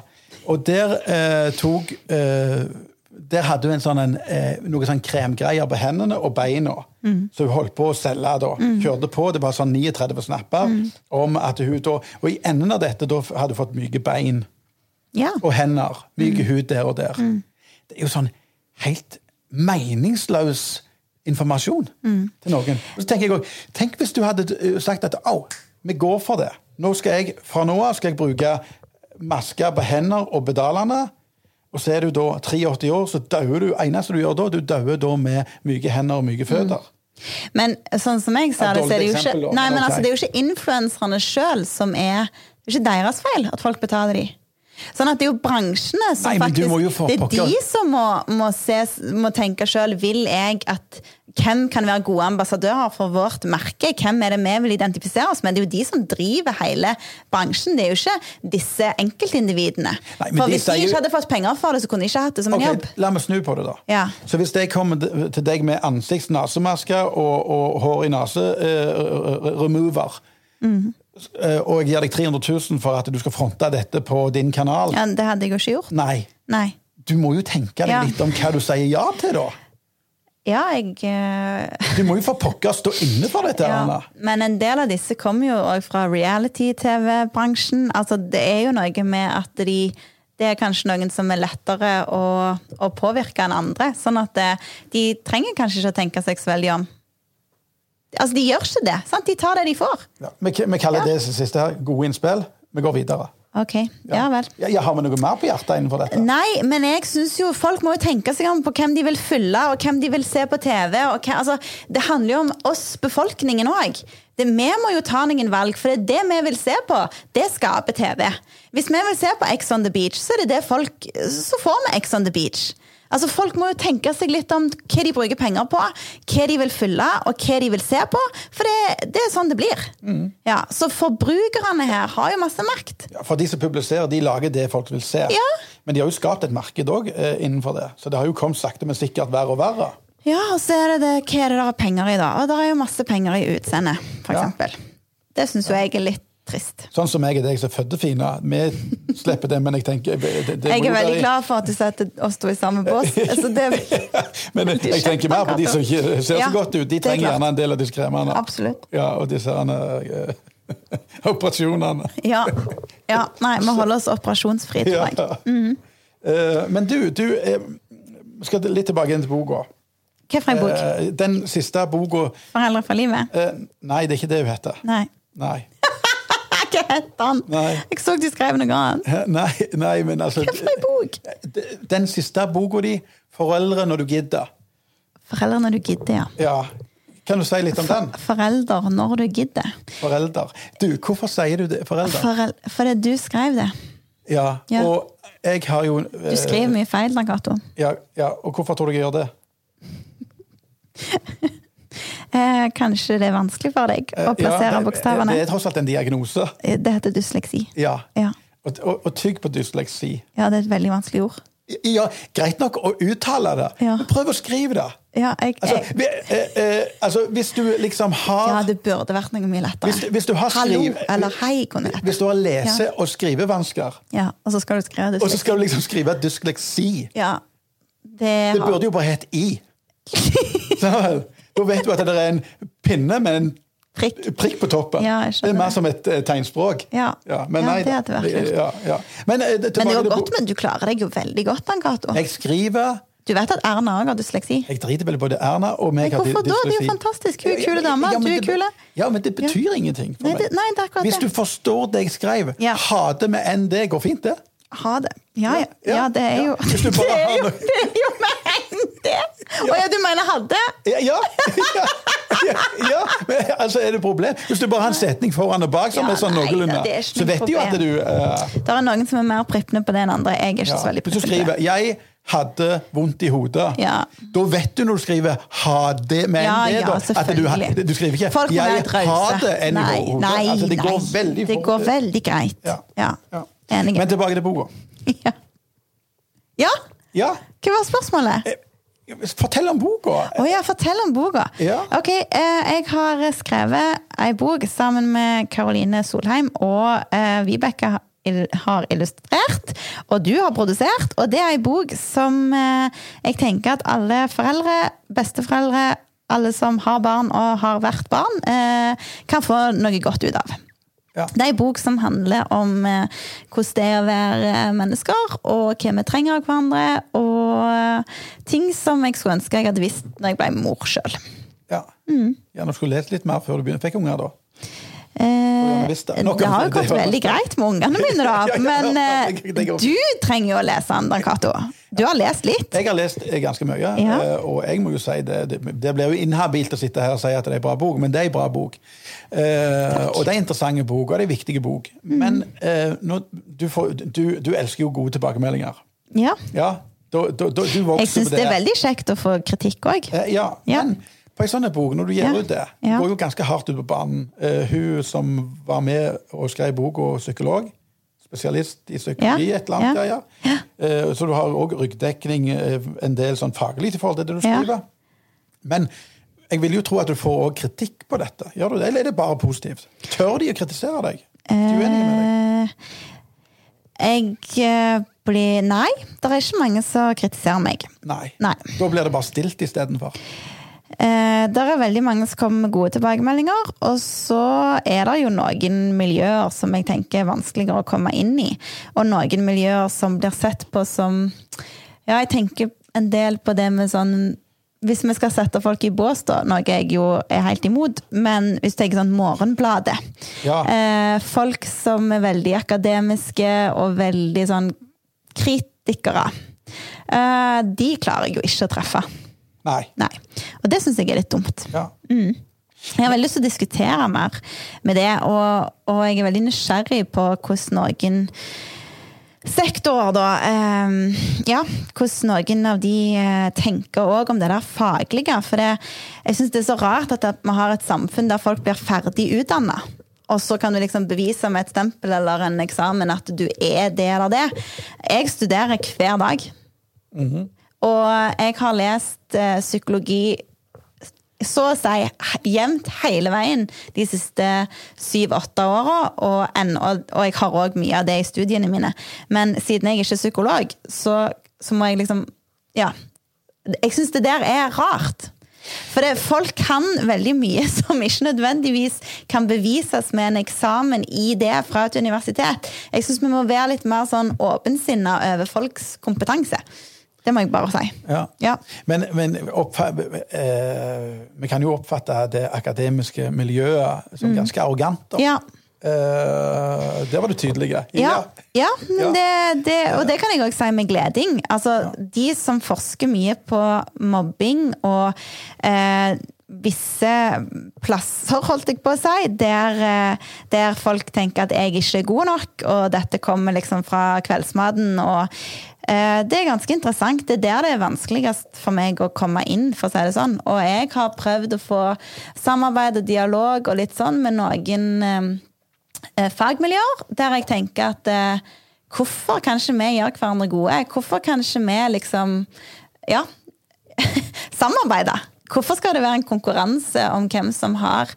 [SPEAKER 1] Og der eh, tok eh, Der hadde hun en sånn en, eh, noe sånn kremgreier på hendene og beina. Så hun holdt på å selge da. Kjørte på. Det var sånn 39 snapper om at hun da Og i enden av dette da hadde hun fått myke bein.
[SPEAKER 2] Ja.
[SPEAKER 1] og hender. Myk hud der og der. Det er jo sånn helt meningsløs informasjon til noen. Og så tenker jeg også, Tenk hvis du hadde eh, sagt at au, vi går for det. Nå skal jeg, Fra nå av skal jeg bruke masker på hender og pedalene. Og så er du da 83 år, så dauer du. eneste du gjør da, du dauer da med myke hender og myke føtter.
[SPEAKER 2] Men sånn som jeg ser
[SPEAKER 1] Et
[SPEAKER 2] det, så er
[SPEAKER 1] dårlig
[SPEAKER 2] det jo ikke,
[SPEAKER 1] eksempel, da,
[SPEAKER 2] nei,
[SPEAKER 1] men
[SPEAKER 2] men
[SPEAKER 1] ok.
[SPEAKER 2] altså, det er jo ikke influenserne sjøl som er Det er ikke deres feil at folk betaler de. Sånn at det er jo bransjene som
[SPEAKER 1] Nei, men du
[SPEAKER 2] faktisk
[SPEAKER 1] må jo få
[SPEAKER 2] Det er
[SPEAKER 1] pokker.
[SPEAKER 2] de som må, må, se, må tenke sjøl. Vil jeg at hvem kan være gode ambassadører for vårt merke? Hvem er det vi vil identifisere oss med? Det er jo de som driver hele bransjen. Det er jo ikke disse enkeltindividene.
[SPEAKER 1] Nei, men
[SPEAKER 2] for
[SPEAKER 1] de
[SPEAKER 2] hvis de
[SPEAKER 1] sier jo-
[SPEAKER 2] ikke hadde fått penger for det, så kunne de ikke hatt det som en
[SPEAKER 1] Ok,
[SPEAKER 2] jobb.
[SPEAKER 1] La meg snu på det, da.
[SPEAKER 2] Ja.
[SPEAKER 1] Så hvis jeg kommer d- til deg med ansikts-nasemaske og, og hår i eh, nase-remover,
[SPEAKER 2] Mhm.
[SPEAKER 1] eh, og jeg gir deg 300 000 for at du skal fronte dette på din kanal
[SPEAKER 2] Ja, det hadde jeg jo ikke gjort.
[SPEAKER 1] Nei.
[SPEAKER 2] Nei.
[SPEAKER 1] Du må jo tenke deg
[SPEAKER 2] Ja.
[SPEAKER 1] litt om hva du sier ja til, da.
[SPEAKER 2] Ja, jeg eh,
[SPEAKER 1] Du må jo for pokker stå inne for dette. Anna.
[SPEAKER 2] Ja, men en del av disse kommer jo òg fra reality-TV-bransjen. Altså, det er jo noe med at de det er kanskje noen som er lettere å, å påvirke enn andre. Sånn at eh, de trenger kanskje ikke å tenke seg så veldig om. Altså, de gjør ikke det. sant? De tar det de får.
[SPEAKER 1] Ja. Vi, vi kaller
[SPEAKER 2] Ja.
[SPEAKER 1] det siste her gode innspill. Vi går videre.
[SPEAKER 2] Ok, ja vel.
[SPEAKER 1] Ja, ja, har vi noe mer på hjertet innenfor dette?
[SPEAKER 2] Nei, men jeg synes jo folk må jo tenke seg om på hvem de vil følge, og hvem de vil se på TV. Og hva, altså, det handler jo om oss, befolkningen òg. Vi må jo ta noen valg, for det er det vi vil se på. Det skaper TV. Hvis vi vil se på Ex on the Beach, så, er det det folk, så får vi Ex on the Beach. Altså, Folk må jo tenke seg litt om hva de bruker penger på, hva de vil følge og hva de vil se på. For det, det er sånn det blir. Ja, Så forbrukerne her har jo masse makt.
[SPEAKER 1] Ja, For de som publiserer, de lager det folk vil se. Men de har jo skapt et marked òg eh, innenfor det. Så det har jo kommet sakte, men sikkert verre og verre.
[SPEAKER 2] Ja, og så er det det, hva er det der er penger i da? Og det er jo masse penger i utseendet, for
[SPEAKER 1] Ja.
[SPEAKER 2] eksempel. Det syns jo jeg er litt Trist.
[SPEAKER 1] Sånn som jeg er deg som er født til fine. Vi slipper det, men jeg tenker eh, det, det, det må
[SPEAKER 2] Jeg
[SPEAKER 1] jo
[SPEAKER 2] er
[SPEAKER 1] være-
[SPEAKER 2] veldig glad for at du setter oss to i samme bås. Altså, det er
[SPEAKER 1] *laughs* Men
[SPEAKER 2] De
[SPEAKER 1] jeg tenker mer på de som ikke ser så
[SPEAKER 2] Ja,
[SPEAKER 1] godt ut. De
[SPEAKER 2] det er
[SPEAKER 1] trenger
[SPEAKER 2] klart.
[SPEAKER 1] gjerne en del av disse kremene.
[SPEAKER 2] Absolutt.
[SPEAKER 1] Ja, og disse herne, eh, *laughs* operasjonene.
[SPEAKER 2] Ja. ja. Nei, vi holder oss operasjonsfri, tror jeg.
[SPEAKER 1] Ja. Eh, Men du, du eh, skal litt tilbake inn til boka.
[SPEAKER 2] Hva for en bok?
[SPEAKER 1] Eh, Den siste boka
[SPEAKER 2] Foreldre for livet?
[SPEAKER 1] eh, Nei, det er ikke det hun heter.
[SPEAKER 2] Nei. *laughs*
[SPEAKER 1] Nei.
[SPEAKER 2] Hva heter han?
[SPEAKER 1] Nei.
[SPEAKER 2] Jeg så du skrev noe annet.
[SPEAKER 1] Nei, nei, men altså
[SPEAKER 2] Hva for en bok?
[SPEAKER 1] Den siste boka di, 'Foreldre når du gidder'.
[SPEAKER 2] Foreldre når du gidder, ja.
[SPEAKER 1] Ja. Kan du si litt om den?
[SPEAKER 2] Forelder når du gidder.
[SPEAKER 1] Forelder. Du, hvorfor sier du det? Forelder?
[SPEAKER 2] Forel Fordi du skrev det.
[SPEAKER 1] Ja,
[SPEAKER 2] Ja.
[SPEAKER 1] og jeg har jo eh,
[SPEAKER 2] Du skriver mye feil, Dag Cato.
[SPEAKER 1] ja, ja, Og hvorfor tror du jeg gjør det?
[SPEAKER 2] Eh, kanskje det er vanskelig for deg å
[SPEAKER 1] Eh, Ja,
[SPEAKER 2] plassere
[SPEAKER 1] det-
[SPEAKER 2] bokstavene? Eh,
[SPEAKER 1] Det er tross alt en diagnose.
[SPEAKER 2] Det heter dysleksi.
[SPEAKER 1] Ja.
[SPEAKER 2] Ja.
[SPEAKER 1] Og, og, og tygg på dysleksi.
[SPEAKER 2] ja, det er et veldig vanskelig ord.
[SPEAKER 1] Ja, greit nok å uttale det,
[SPEAKER 2] Ja.
[SPEAKER 1] men prøv å skrive det.
[SPEAKER 2] Ja, jeg, jeg,
[SPEAKER 1] Altså, vi, eh, eh, altså hvis du liksom
[SPEAKER 2] ja,
[SPEAKER 1] har
[SPEAKER 2] det burde vært noe mye lettere.
[SPEAKER 1] Hvis- hvis du har
[SPEAKER 2] Hallo
[SPEAKER 1] skriv-
[SPEAKER 2] eller hei kunne det hett.
[SPEAKER 1] Hvis du har lese- og skrivevansker,
[SPEAKER 2] Ja, og så skal du skrive
[SPEAKER 1] og så
[SPEAKER 2] dysleksi.
[SPEAKER 1] skal du liksom skrive dysleksi
[SPEAKER 2] Ja, det,
[SPEAKER 1] Det
[SPEAKER 2] har...
[SPEAKER 1] burde jo bare hett I.
[SPEAKER 2] *laughs*
[SPEAKER 1] Så, Da vet du at det er en pinne med en
[SPEAKER 2] Prikk.
[SPEAKER 1] prikk på toppen.
[SPEAKER 2] Ja, jeg
[SPEAKER 1] det
[SPEAKER 2] skjønner
[SPEAKER 1] er mer
[SPEAKER 2] det.
[SPEAKER 1] som et eh, tegnspråk.
[SPEAKER 2] Ja.
[SPEAKER 1] men
[SPEAKER 2] Ja,
[SPEAKER 1] nei,
[SPEAKER 2] det hadde
[SPEAKER 1] da.
[SPEAKER 2] vært lurt.
[SPEAKER 1] Ja, ja. Men, eh,
[SPEAKER 2] Men det er
[SPEAKER 1] tilbake
[SPEAKER 2] jo
[SPEAKER 1] til
[SPEAKER 2] godt,
[SPEAKER 1] bo-
[SPEAKER 2] men du klarer deg jo veldig godt, Dan Cato.
[SPEAKER 1] Jeg skriver
[SPEAKER 2] Du vet at Erna òg har dysleksi?
[SPEAKER 1] Jeg driter vel i både Erna og meg.
[SPEAKER 2] Men hvorfor
[SPEAKER 1] har dy-
[SPEAKER 2] da? Det er jo
[SPEAKER 1] dysleksi.
[SPEAKER 2] fantastisk. Hun er kule dame,
[SPEAKER 1] men
[SPEAKER 2] du er
[SPEAKER 1] det-
[SPEAKER 2] kule.
[SPEAKER 1] Ja, men det betyr ingenting for
[SPEAKER 2] Nei, det-
[SPEAKER 1] meg.
[SPEAKER 2] nei, det er akkurat
[SPEAKER 1] Hvis du
[SPEAKER 2] det.
[SPEAKER 1] forstår det jeg skrev,
[SPEAKER 2] Ja.
[SPEAKER 1] ha det med enn det går fint, det.
[SPEAKER 2] Ha det. Ja, ja.
[SPEAKER 1] Ja,
[SPEAKER 2] ja det er
[SPEAKER 1] ja.
[SPEAKER 2] jo
[SPEAKER 1] Hvis du
[SPEAKER 2] Det *laughs*
[SPEAKER 1] bare
[SPEAKER 2] er
[SPEAKER 1] har
[SPEAKER 2] jo,
[SPEAKER 1] noe-
[SPEAKER 2] det er jo meningen, det! Å ja, du mener hadde?
[SPEAKER 1] Ja! ja, *laughs* ja, ja, ja. Men, altså, er det et problem? Hvis du bare har en setning foran og bak som
[SPEAKER 2] Ja,
[SPEAKER 1] er sånn
[SPEAKER 2] nei,
[SPEAKER 1] noenlunde,
[SPEAKER 2] det er
[SPEAKER 1] så
[SPEAKER 2] ikke noe
[SPEAKER 1] vet de jo at
[SPEAKER 2] problem.
[SPEAKER 1] du eh,
[SPEAKER 2] Det er noen som er mer prippende på det enn andre. Jeg er ikke
[SPEAKER 1] Ja.
[SPEAKER 2] så veldig
[SPEAKER 1] Hvis du
[SPEAKER 2] prippende.
[SPEAKER 1] skriver 'jeg hadde vondt i hodet',
[SPEAKER 2] Ja.
[SPEAKER 1] da vet du når du skriver 'ha det', men
[SPEAKER 2] Ja,
[SPEAKER 1] det, da.
[SPEAKER 2] ja,
[SPEAKER 1] at du, har-
[SPEAKER 2] selvfølgelig.
[SPEAKER 1] du skriver ikke
[SPEAKER 2] Folk må
[SPEAKER 1] 'jeg har
[SPEAKER 2] være rause.
[SPEAKER 1] det enn i
[SPEAKER 2] Nei,
[SPEAKER 1] hodet'.
[SPEAKER 2] nei,
[SPEAKER 1] Altså, det går
[SPEAKER 2] nei.
[SPEAKER 1] veldig
[SPEAKER 2] Det
[SPEAKER 1] fort.
[SPEAKER 2] går veldig greit.
[SPEAKER 1] Ja.
[SPEAKER 2] Ja.
[SPEAKER 1] Ja.
[SPEAKER 2] Enig.
[SPEAKER 1] Men tilbake til boka.
[SPEAKER 2] *laughs* Ja. ja?
[SPEAKER 1] Ja, Eh,
[SPEAKER 2] Hva var spørsmålet?
[SPEAKER 1] fortell om boka!
[SPEAKER 2] Å ja, fortell om boka.
[SPEAKER 1] Ja.
[SPEAKER 2] Ok, eh, jeg har skrevet ei bok sammen med Karoline Solheim, og eh, Vibeke ha- il- har illustrert, og du har produsert. Og det er ei bok som eh, jeg tenker at alle foreldre, besteforeldre, alle som har barn og har vært barn, eh, kan få noe godt ut av.
[SPEAKER 1] Ja.
[SPEAKER 2] Det er en bok som handler om eh, hvordan det er å være eh, mennesker, og hva vi trenger av hverandre, og eh, ting som jeg skulle ønske jeg hadde visst når jeg ble mor sjøl.
[SPEAKER 1] Ja.
[SPEAKER 2] Mm.
[SPEAKER 1] Gjerne skulle lest litt mer før du begynner. Fikk unger, da?
[SPEAKER 2] Eh,
[SPEAKER 1] gjerne visst det.
[SPEAKER 2] det
[SPEAKER 1] Nok om
[SPEAKER 2] har jo
[SPEAKER 1] det, det
[SPEAKER 2] gått
[SPEAKER 1] var-
[SPEAKER 2] veldig greit med ungene mine,
[SPEAKER 1] *laughs* Ja, ja,
[SPEAKER 2] da.
[SPEAKER 1] ja,
[SPEAKER 2] Men
[SPEAKER 1] det- det- det
[SPEAKER 2] eh,
[SPEAKER 1] går-
[SPEAKER 2] du trenger jo å lese den, Dan Cato. Du har lest litt.
[SPEAKER 1] Jeg har lest eh, ganske mye,
[SPEAKER 2] Ja.
[SPEAKER 1] eh, og jeg må jo si det, det, det blir jo inhabilt å sitte her og si at det er en bra bok, men det er en bra bok. Eh, og det er en interessant bok, og det er en viktig bok. Men
[SPEAKER 2] Mm.
[SPEAKER 1] eh, nå, du, får, du, du elsker jo gode tilbakemeldinger.
[SPEAKER 2] Ja.
[SPEAKER 1] Ja, da, da, da, du vokste
[SPEAKER 2] Jeg syns
[SPEAKER 1] på
[SPEAKER 2] det er veldig kjekt å få kritikk òg.
[SPEAKER 1] Eh, ja,
[SPEAKER 2] Ja.
[SPEAKER 1] men på en sånn en bok, når du gjør
[SPEAKER 2] Ja.
[SPEAKER 1] ut det,
[SPEAKER 2] Ja.
[SPEAKER 1] går jo ganske hardt ut på banen. Eh, hun som var med og skrev bok, og psykolog, spesialist i psykologi,
[SPEAKER 2] Ja.
[SPEAKER 1] et eller annet,
[SPEAKER 2] Ja.
[SPEAKER 1] ja, ja. Eh, så du har òg ryggdekning, eh, en del sånn faglig i forhold til det du
[SPEAKER 2] Ja.
[SPEAKER 1] skriver. Men jeg vil jo tro at du får også kritikk på dette. Gjør du det, eller er det bare positivt? Tør de å kritisere deg? Du er uenig med
[SPEAKER 2] Eh,
[SPEAKER 1] deg?
[SPEAKER 2] Jeg eh, blir Nei, det er ikke mange som kritiserer meg.
[SPEAKER 1] Nei.
[SPEAKER 2] Nei.
[SPEAKER 1] Da blir det bare stilt istedenfor.
[SPEAKER 2] Eh, der er veldig mange som kommer med gode tilbakemeldinger, og så er det jo noen miljøer som jeg tenker er vanskeligere å komme inn i, og noen miljøer som blir sett på som Ja, jeg tenker en del på det med sånn Hvis vi skal sette folk i bås, da, noe jeg jo er helt imot, men hvis du tenker sånn Morgenbladet
[SPEAKER 1] Ja.
[SPEAKER 2] eh, Folk som er veldig akademiske og veldig sånn kritikere, eh, de klarer jeg jo ikke å treffe.
[SPEAKER 1] Nei.
[SPEAKER 2] Nei. Og det syns jeg er litt dumt.
[SPEAKER 1] Ja.
[SPEAKER 2] Jeg har veldig lyst til å diskutere mer med det, og, og jeg er veldig nysgjerrig på hvordan noen sektorer, da eh, Ja, hvordan noen av de eh, tenker òg om det der faglige. For det, jeg syns det er så rart at vi har et samfunn der folk blir ferdig utdanna. Og så kan du liksom bevise med et stempel eller en eksamen at du er det eller det. Jeg studerer hver dag. Og jeg har lest eh, psykologi så å si he- jevnt hele veien de siste syv-åtte åra, og, enn- og, og jeg har òg mye av det i studiene mine. Men siden jeg ikke er psykolog, så, så må jeg liksom Ja. Jeg syns det der er rart. For det, folk kan veldig mye *laughs* som ikke nødvendigvis kan bevises med en eksamen i det fra et universitet. Jeg syns vi må være litt mer sånn åpensinna over folks kompetanse. Det må jeg bare si.
[SPEAKER 1] Ja.
[SPEAKER 2] Ja.
[SPEAKER 1] Men, men oppfa- eh, vi kan jo oppfatte det akademiske miljøet som ganske arrogant. da.
[SPEAKER 2] Mm. Ja.
[SPEAKER 1] Eh, der var du tydelig. Ja.
[SPEAKER 2] Ja, ja, men
[SPEAKER 1] Ja.
[SPEAKER 2] det, det, og det kan jeg òg si med gleding. Altså, De som forsker mye på mobbing og eh, visse plasser, holdt jeg på å si, der, eh, der folk tenker at jeg ikke er god nok, og dette kommer liksom fra kveldsmaten og eh, Det er ganske interessant. Det er der det er vanskeligst for meg å komme inn, for å si det sånn. Og jeg har prøvd å få samarbeid og dialog og litt sånn med noen eh, eh, fagmiljøer der jeg tenker at eh, hvorfor kan ikke vi gjøre hverandre gode? Hvorfor kan ikke vi liksom ja, *laughs* samarbeide? Hvorfor skal det være en konkurranse om hvem som har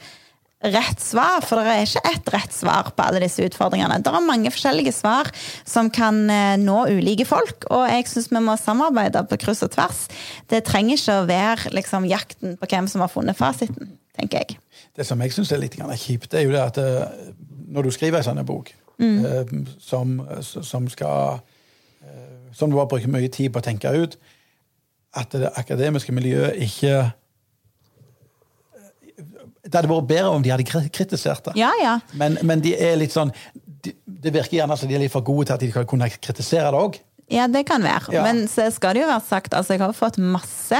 [SPEAKER 2] rett svar? For det er ikke ett rett svar på alle disse utfordringene. Det er mange forskjellige svar som kan eh, nå ulike folk, og jeg syns vi må samarbeide på kryss og tvers. Det trenger ikke å være liksom, jakten på hvem som har funnet fasiten, tenker jeg.
[SPEAKER 1] Det som jeg syns er litt grann kjipt, det er jo det at eh, når du skriver en sånn en bok
[SPEAKER 2] Mm.
[SPEAKER 1] eh, som, som skal eh, Som du har brukt mye tid på å tenke ut, at det akademiske miljøet ikke eh, Det hadde vært bedre om de hadde kri- kritisert det.
[SPEAKER 2] Ja, ja.
[SPEAKER 1] Men, men de er litt sånn de, Det virker gjerne som de er litt for gode til at de kan kunne kritisere det òg.
[SPEAKER 2] Ja, det kan være.
[SPEAKER 1] Ja.
[SPEAKER 2] Men så skal det jo være sagt, altså jeg har fått masse.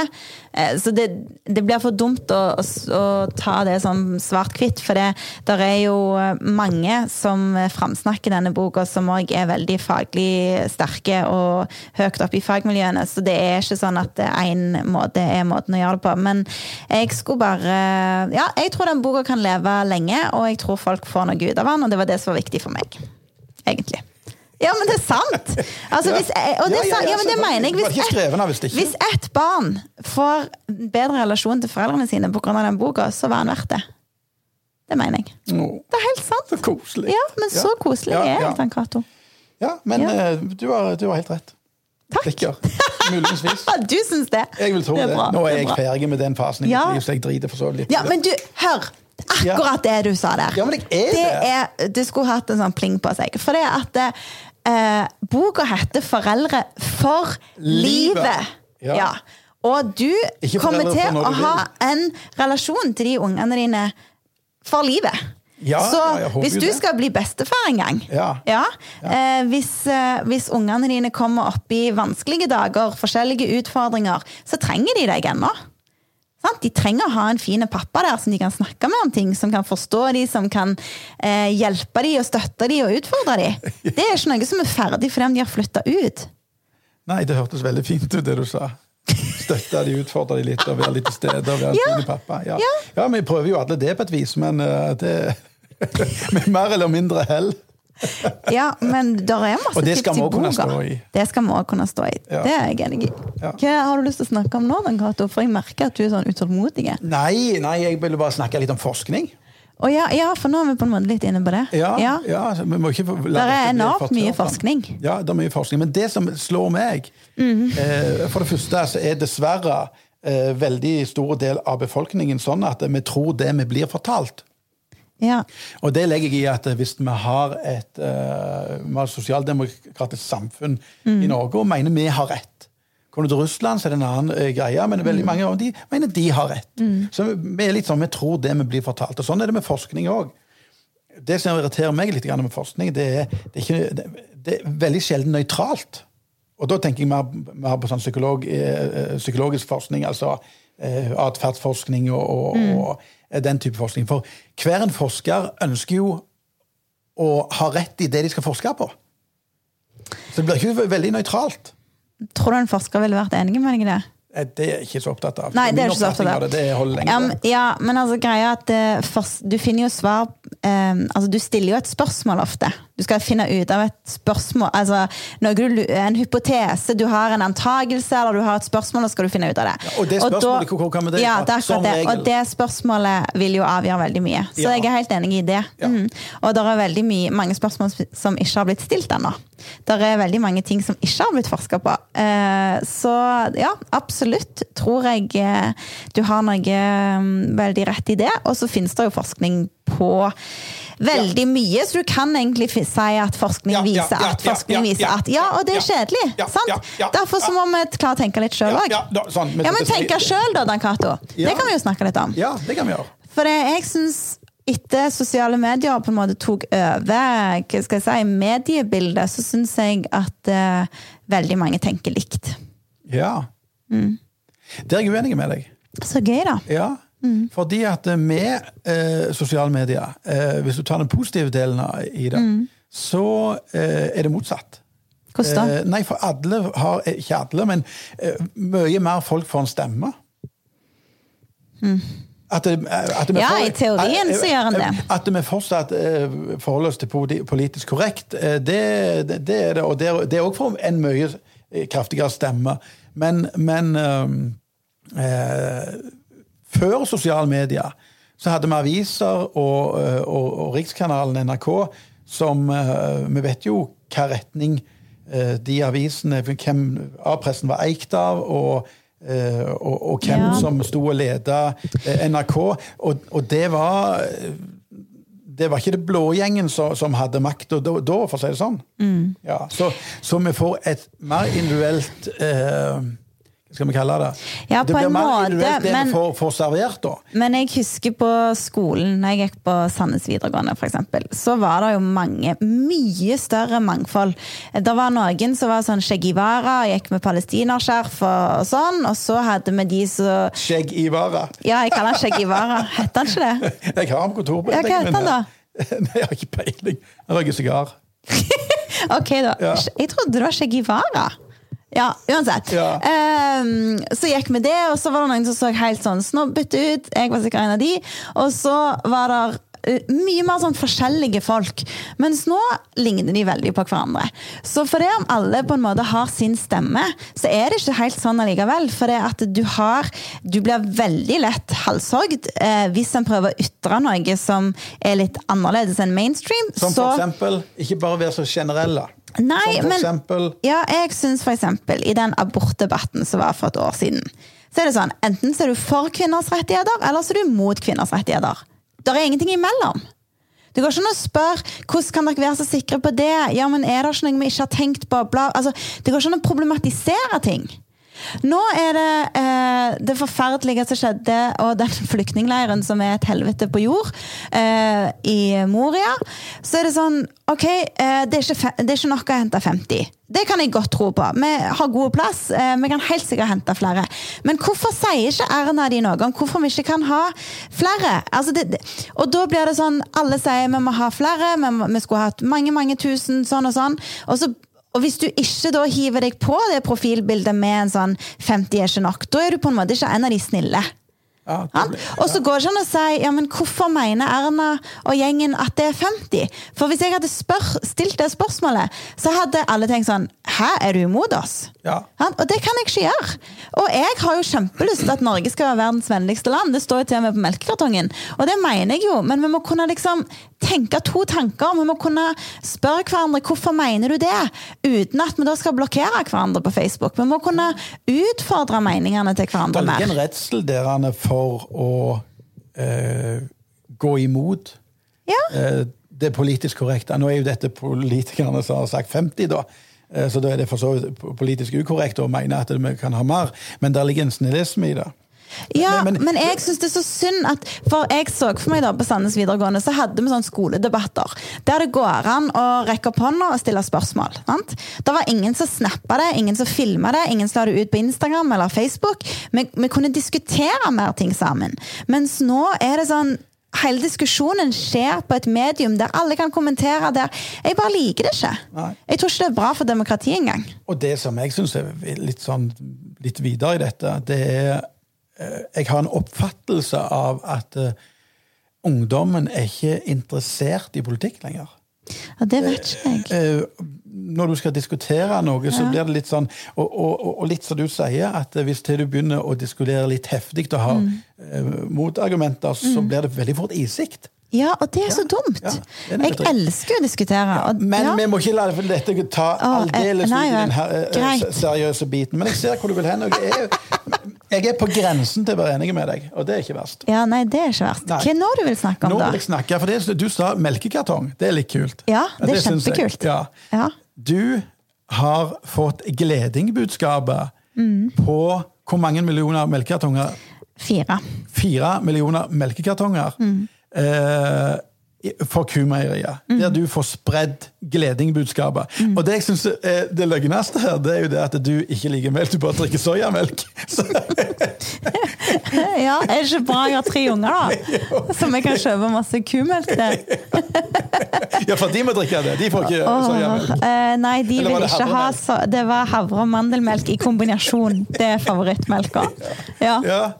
[SPEAKER 2] eh, Så det, det blir for dumt å, å, s- å ta det som svart-hvitt, for det der er jo eh, mange som eh, framsnakker denne boka, som òg er veldig faglig sterke og høyt oppe i fagmiljøene. Så det er ikke sånn at én måte er måten å gjøre det på. Men jeg skulle bare Ja, jeg tror den boka kan leve lenge, og jeg tror folk får noe ut av den, og det var det som var viktig for meg. Egentlig. Ja, men det er sant! Altså,
[SPEAKER 1] Ja.
[SPEAKER 2] hvis jeg, og det,
[SPEAKER 1] Ja,
[SPEAKER 2] er
[SPEAKER 1] ja,
[SPEAKER 2] sant-
[SPEAKER 1] ja,
[SPEAKER 2] ja, men det
[SPEAKER 1] selvfølgelig.
[SPEAKER 2] mener jeg.
[SPEAKER 1] Det var
[SPEAKER 2] Hvis
[SPEAKER 1] ikke skrevet av hvis det
[SPEAKER 2] ett,
[SPEAKER 1] ikke-
[SPEAKER 2] hvis ett barn får bedre relasjon til foreldrene sine pga. den boka, så var han verdt det. Det mener jeg. Det er helt sant.
[SPEAKER 1] Så koselig.
[SPEAKER 2] Ja, men så koselig
[SPEAKER 1] Ja,
[SPEAKER 2] er
[SPEAKER 1] ja.
[SPEAKER 2] jeg, Dan Cato.
[SPEAKER 1] Ja, men
[SPEAKER 2] Ja.
[SPEAKER 1] eh, Du, har, du har helt rett.
[SPEAKER 2] Takk.
[SPEAKER 1] Prikker. Muligens.
[SPEAKER 2] *laughs* Du syns det?
[SPEAKER 1] Jeg vil tro
[SPEAKER 2] Det
[SPEAKER 1] det.
[SPEAKER 2] er bra,
[SPEAKER 1] Nå er
[SPEAKER 2] det er
[SPEAKER 1] jeg
[SPEAKER 2] bra.
[SPEAKER 1] ferdig med den fasen. i mitt
[SPEAKER 2] Ja.
[SPEAKER 1] liv, så jeg driter for så vidt litt.
[SPEAKER 2] Ja,
[SPEAKER 1] i det.
[SPEAKER 2] men du, hør! Akkurat det du sa der.
[SPEAKER 1] Ja, men jeg er
[SPEAKER 2] det
[SPEAKER 1] det.
[SPEAKER 2] er, du skulle hatt en sånn pling på seg. For det er at eh, boka heter 'Foreldre for
[SPEAKER 1] Livet».
[SPEAKER 2] livet'.
[SPEAKER 1] Ja.
[SPEAKER 2] Ja. Og du
[SPEAKER 1] Ikke
[SPEAKER 2] kommer
[SPEAKER 1] foreldre
[SPEAKER 2] til
[SPEAKER 1] for når
[SPEAKER 2] å
[SPEAKER 1] du
[SPEAKER 2] ha
[SPEAKER 1] vil.
[SPEAKER 2] en relasjon til de ungene dine for livet.
[SPEAKER 1] Ja,
[SPEAKER 2] Så
[SPEAKER 1] ja, jeg håper
[SPEAKER 2] hvis
[SPEAKER 1] jo
[SPEAKER 2] du
[SPEAKER 1] det.
[SPEAKER 2] skal bli bestefar en gang
[SPEAKER 1] Ja.
[SPEAKER 2] Eh, hvis, eh, hvis ungene dine kommer opp i vanskelige dager, forskjellige utfordringer, så trenger de deg ennå. Sant? De trenger å ha en fin pappa der som de kan snakke med om ting, som kan forstå de, som kan eh, hjelpe de og støtte de og utfordre de.
[SPEAKER 1] *laughs*
[SPEAKER 2] Det er ikke noe som er ferdig for dem de har flytta ut.
[SPEAKER 1] Nei, det hørtes veldig fint ut, det du sa. Støtte de, utfordre de litt, og være litt til stede. og være en
[SPEAKER 2] Ja.
[SPEAKER 1] fin pappa. Ja.
[SPEAKER 2] Ja.
[SPEAKER 1] ja, vi prøver jo alle det på et vis, men eh, det *laughs* Med mer eller mindre hell.
[SPEAKER 2] Ja, men der er masse
[SPEAKER 1] Og det
[SPEAKER 2] tips
[SPEAKER 1] skal
[SPEAKER 2] i
[SPEAKER 1] vi også kunne
[SPEAKER 2] boka.
[SPEAKER 1] stå i.
[SPEAKER 2] Det skal vi også kunne stå i.
[SPEAKER 1] Ja.
[SPEAKER 2] Det er jeg enig i.
[SPEAKER 1] Ja.
[SPEAKER 2] Hva har du lyst til å snakke om nå, Dan Cato? For jeg merker at du er sånn utålmodig. Å
[SPEAKER 1] Nei, nei, jeg ville bare snakke litt om forskning.
[SPEAKER 2] ja, ja, for nå er vi på en måte litt inne på det.
[SPEAKER 1] Ja, ja. så vi må ikke la
[SPEAKER 2] Der er
[SPEAKER 1] dette bli
[SPEAKER 2] enormt mye
[SPEAKER 1] fortørret.
[SPEAKER 2] forskning. Mhm.
[SPEAKER 1] Ja, det er mye forskning. Men det som slår meg, eh, for det første så er dessverre eh, veldig stor del av befolkningen sånn at vi tror det vi blir fortalt.
[SPEAKER 2] Ja.
[SPEAKER 1] Og det legger jeg i at hvis vi har et, eh, vi har et sosialdemokratisk samfunn i Norge og mener vi har rett Kommer du til Russland, så er det en annen eh, greie, men veldig mange av de mener de har rett. Så vi er litt sånn, vi tror det vi blir fortalt. Og sånn er det med forskning òg det som irriterer meg litt grann med forskning, det er, det er, ikke, det, det er veldig sjelden nøytralt. Og da tenker jeg mer, mer på sånn psykolog, eh, eh, psykologisk forskning, altså eh, atferdsforskning og, og,
[SPEAKER 2] Mm.
[SPEAKER 1] og eh, den type forskning. For hver en forsker ønsker jo å ha rett i det de skal forske på. Så det blir ikke ve- veldig nøytralt.
[SPEAKER 2] Tror du en forsker ville vært enig med deg i det?
[SPEAKER 1] Eh, Det er jeg ikke så opptatt av.
[SPEAKER 2] Nei, det er
[SPEAKER 1] Min
[SPEAKER 2] ikke så
[SPEAKER 1] oppfatning
[SPEAKER 2] opptatt
[SPEAKER 1] av
[SPEAKER 2] av.
[SPEAKER 1] Det, det holder lenge.
[SPEAKER 2] Ja, men- ja, men altså greia er at eh, først, du finner jo svar ehm, altså Du stiller jo et spørsmål ofte. Du skal finne ut av et spørsmål altså noe du, lu- En hypotese. Du har en antagelse eller du har et spørsmål, og skal du finne ut av det.
[SPEAKER 1] og det
[SPEAKER 2] da-
[SPEAKER 1] spørsmålet, hvor- hvor kommer det
[SPEAKER 2] ja,
[SPEAKER 1] fra?
[SPEAKER 2] det er
[SPEAKER 1] Som
[SPEAKER 2] akkurat det.
[SPEAKER 1] regel.
[SPEAKER 2] Og det spørsmålet vil jo avgjøre veldig mye. Så
[SPEAKER 1] Ja.
[SPEAKER 2] jeg er helt enig i det.
[SPEAKER 1] Ja.
[SPEAKER 2] Mm. Og det er veldig mye, mange spørsmål sp- som ikke har blitt stilt ennå. Det er veldig mange ting som ikke har blitt forska på. Eh, Så ja, absolutt tror jeg eh, du har noe mm, veldig rett i det. Og så finnes det jo forskning på veldig mye, så du kan egentlig fi- si at forskning
[SPEAKER 1] Ja, ja,
[SPEAKER 2] viser
[SPEAKER 1] ja,
[SPEAKER 2] at
[SPEAKER 1] ja,
[SPEAKER 2] forskning
[SPEAKER 1] ja,
[SPEAKER 2] viser
[SPEAKER 1] ja,
[SPEAKER 2] at Ja, og det
[SPEAKER 1] ja,
[SPEAKER 2] er kjedelig,
[SPEAKER 1] ja, ja,
[SPEAKER 2] sant?
[SPEAKER 1] ja,
[SPEAKER 2] Derfor så må vi klare å tenke litt sjøl
[SPEAKER 1] Ja,
[SPEAKER 2] òg.
[SPEAKER 1] ja, da- sånn, men
[SPEAKER 2] Ja, men
[SPEAKER 1] dette-
[SPEAKER 2] tenke sjøl, da, Dan Cato.
[SPEAKER 1] Ja.
[SPEAKER 2] Det kan vi jo snakke litt om.
[SPEAKER 1] Ja, det kan vi gjøre.
[SPEAKER 2] For det, jeg syns etter sosiale medier på en måte tok over hva skal jeg si, mediebildet, så syns jeg at eh, veldig mange tenker likt.
[SPEAKER 1] Ja.
[SPEAKER 2] Mm.
[SPEAKER 1] Der er jeg uenig med deg.
[SPEAKER 2] Så gøy, da.
[SPEAKER 1] Ja.
[SPEAKER 2] Mm.
[SPEAKER 1] Fordi at eh, med eh, sosiale medier, eh, hvis du tar den positive delen av- i det,
[SPEAKER 2] Mm.
[SPEAKER 1] så eh, er det motsatt.
[SPEAKER 2] Hvordan da?
[SPEAKER 1] Eh, nei, for alle har eh, Ikke alle, men eh, mye mer folk får en stemme. At det- eh, at vi
[SPEAKER 2] Mm. Ja,
[SPEAKER 1] får-
[SPEAKER 2] i teorien
[SPEAKER 1] eh, eh,
[SPEAKER 2] så gjør en
[SPEAKER 1] eh,
[SPEAKER 2] det.
[SPEAKER 1] At vi fortsatt eh, forholder oss til poli- politisk korrekt, eh, det, det, det er det. Og det er- det er òg for en mye eh, kraftigere stemme. Men, men eh, eh, før sosiale medier så hadde vi aviser og, eh, og, og Rikskanalen NRK som eh, Vi vet jo hva retning eh, de avisene Hvem A-pressen var eikt av, og, eh, og, og hvem
[SPEAKER 2] Ja.
[SPEAKER 1] som sto og leda eh, NRK. Og, og det var eh, det var ikke det blå gjengen som, som hadde makt og da, da, for å si det sånn.
[SPEAKER 2] Mm.
[SPEAKER 1] Ja, så, så vi får et mer individuelt eh, Hva skal vi kalle det?
[SPEAKER 2] Ja,
[SPEAKER 1] det
[SPEAKER 2] på en
[SPEAKER 1] mer
[SPEAKER 2] måte,
[SPEAKER 1] individuelt det
[SPEAKER 2] men-
[SPEAKER 1] vi får, får servert, da.
[SPEAKER 2] Men jeg husker på skolen, når jeg gikk på Sandnes videregående for eksempel, så var det jo mange, mye større mangfold. Det var noen som var sånn Che Guevara, gikk med palestinerskjerf og og sånn, og så hadde vi de som
[SPEAKER 1] Skjegg i vara.
[SPEAKER 2] Ja, jeg kaller han Che Guevara. Hette han ikke det?
[SPEAKER 1] *laughs* Jeg har ham på kontoret.
[SPEAKER 2] Ja, hva
[SPEAKER 1] men- eh,
[SPEAKER 2] heter han da?
[SPEAKER 1] *laughs* Nei, Jeg har ikke peiling. Han røyker sigar.
[SPEAKER 2] Ok, da.
[SPEAKER 1] Ja.
[SPEAKER 2] Jeg trodde det var Che Guevara. Ja, uansett.
[SPEAKER 1] Ja.
[SPEAKER 2] Ehm, så gikk vi det, og så var det noen som så helt sånn snobbete ut. Jeg var sikkert en av de. Og så var det eh, mye mer sånn forskjellige folk. Mens nå ligner de veldig på hverandre. Så fordi om alle på en måte har sin stemme, så er det ikke helt sånn allikevel. For det at du har Du blir veldig lett halshogd eh, hvis en prøver å ytre noe som er litt annerledes enn mainstream.
[SPEAKER 1] Som
[SPEAKER 2] så,
[SPEAKER 1] for eksempel Ikke bare være så generelle.
[SPEAKER 2] Nei,
[SPEAKER 1] som for
[SPEAKER 2] men-
[SPEAKER 1] eksempel
[SPEAKER 2] Ja, jeg syns for eksempel i den abortdebatten som var for et år siden, så er det sånn enten så er du for kvinners rettigheter, eller så er du mot kvinners rettigheter. Det er ingenting imellom. Det går ikke an å spørre hvordan kan dere være så sikre på det. Ja, men er det ikke noe vi ikke har tenkt på? Bla. Altså, det går ikke an å problematisere ting. Nå er det eh, det forferdelige som skjedde, og den *laughs* flyktningleiren som er et helvete på jord, eh, i Moria. Så er det sånn OK, eh, det, er ikke, fe- det er ikke nok å hente 50. Det kan jeg godt tro på. Vi har god plass. eh, Vi kan helt sikkert hente flere. Men hvorfor sier ikke Erna de noe om hvorfor vi ikke kan ha flere? Altså det, det- og da blir det sånn Alle sier vi må ha flere, vi, må, vi skulle hatt mange, mange tusen, sånn og sånn. Og så og hvis du ikke da hiver deg på det profilbildet med en sånn 50 er ikke nok, da er du på en måte ikke en av de snille.
[SPEAKER 1] ja, det
[SPEAKER 2] Sant?
[SPEAKER 1] ble-
[SPEAKER 2] Og så går det ikke an å si ja, men hvorfor mener Erna og gjengen at det er 50? For hvis jeg hadde spør, stilt det spørsmålet, så hadde alle tenkt sånn Hæ, er du imot oss?
[SPEAKER 1] Ja.
[SPEAKER 2] Sant? Og det kan jeg ikke gjøre. Og jeg har jo kjempelyst til at Norge skal være verdens vennligste land. Det står jo til og med på melkekartongen. Og det mener jeg jo, men vi må kunne liksom tenke to tanker. Vi må kunne spørre hverandre hvorfor mener du det, uten at vi da skal blokkere hverandre på Facebook. Vi må kunne utfordre meningene til
[SPEAKER 1] Det
[SPEAKER 2] hverandre
[SPEAKER 1] ligger
[SPEAKER 2] mer.
[SPEAKER 1] en redsel der han er for å eh, gå imot
[SPEAKER 2] Ja.
[SPEAKER 1] eh, det politisk korrekte. Nå er jo dette politikerne som har sagt 50, da. Eh, Så da er det for så vidt politisk ukorrekt å mene at vi kan ha mer, men der ligger en snillisme i det.
[SPEAKER 2] Ja,
[SPEAKER 1] Men-
[SPEAKER 2] men,
[SPEAKER 1] men-
[SPEAKER 2] jeg syns det er så synd at For jeg så for meg da på Sandnes videregående, så hadde vi sånne skoledebatter. Der det går an å rekke opp hånda og stille spørsmål. Sant? Det var ingen som snappa det, ingen som filma det, ingen som la det ut på Instagram eller Facebook. Vi, vi kunne diskutere mer ting sammen. Mens nå er det sånn Hele diskusjonen skjer på et medium der alle kan kommentere. der. Jeg bare liker det ikke.
[SPEAKER 1] Nei.
[SPEAKER 2] Jeg tror ikke det er bra for demokratiet engang.
[SPEAKER 1] Og det som jeg syns er litt, sånn, litt videre i dette, det er eh, Jeg har en oppfattelse av at eh, ungdommen er ikke interessert i politikk lenger.
[SPEAKER 2] Ja, det vet ikke jeg.
[SPEAKER 1] Eh, når du skal diskutere noe, så blir det litt sånn Og, og, og- og litt som du sier, at eh, hvis til du begynner å diskutere litt heftig og har eh, motargumenter, så blir det veldig fort isikt.
[SPEAKER 2] Ja, og det er så
[SPEAKER 1] ja,
[SPEAKER 2] dumt.
[SPEAKER 1] det er
[SPEAKER 2] Jeg
[SPEAKER 1] nettopp det.
[SPEAKER 2] elsker jo å diskutere. Og,
[SPEAKER 1] Men
[SPEAKER 2] ja.
[SPEAKER 1] vi må ikke la det- for dette ta
[SPEAKER 2] Å, eh,
[SPEAKER 1] aldeles ut
[SPEAKER 2] nei
[SPEAKER 1] i
[SPEAKER 2] vel.
[SPEAKER 1] den her, eh,
[SPEAKER 2] Greit.
[SPEAKER 1] se- seriøse biten. Men jeg ser hvor du vil hen. og Jeg er, jeg er på grensen til å være enig med deg, og det er ikke verst.
[SPEAKER 2] ja, nei, det er ikke verst.
[SPEAKER 1] Nei.
[SPEAKER 2] Hva er nå du vil snakke
[SPEAKER 1] Nå
[SPEAKER 2] om, da?
[SPEAKER 1] vil jeg snakke, for det, Du sa melkekartong. Det er litt kult.
[SPEAKER 2] Ja, det er
[SPEAKER 1] syns jeg.
[SPEAKER 2] kjempekult.
[SPEAKER 1] Ja.
[SPEAKER 2] Ja.
[SPEAKER 1] Du har fått gledingbudskapet
[SPEAKER 2] Mm.
[SPEAKER 1] på hvor mange millioner melkekartonger?
[SPEAKER 2] Fire. *laughs*
[SPEAKER 1] Fire millioner melkekartonger
[SPEAKER 2] Mm.
[SPEAKER 1] eh, i- for Kumeieriet. Der du får spredd gledingbudskapet.
[SPEAKER 2] Mm.
[SPEAKER 1] Og det jeg syns er det løgneste her, det er jo det at du ikke liker melk, du bare drikker soyamelk. *laughs* Så,
[SPEAKER 2] Ja, er det ikke bra jeg har tre
[SPEAKER 1] *laughs*
[SPEAKER 2] unger, da? Som jeg kan kjøpe masse kumelk til?
[SPEAKER 1] ja, for de må drikke det. De får ikke
[SPEAKER 2] Åh,
[SPEAKER 1] soyamelk.
[SPEAKER 2] eh, nei, de
[SPEAKER 1] Eller var
[SPEAKER 2] vil
[SPEAKER 1] det
[SPEAKER 2] ikke ha
[SPEAKER 1] havremelk?
[SPEAKER 2] så Det var havre- og mandelmelk i kombinasjon. Det er favorittmelka. Ja.
[SPEAKER 1] *laughs* Ja.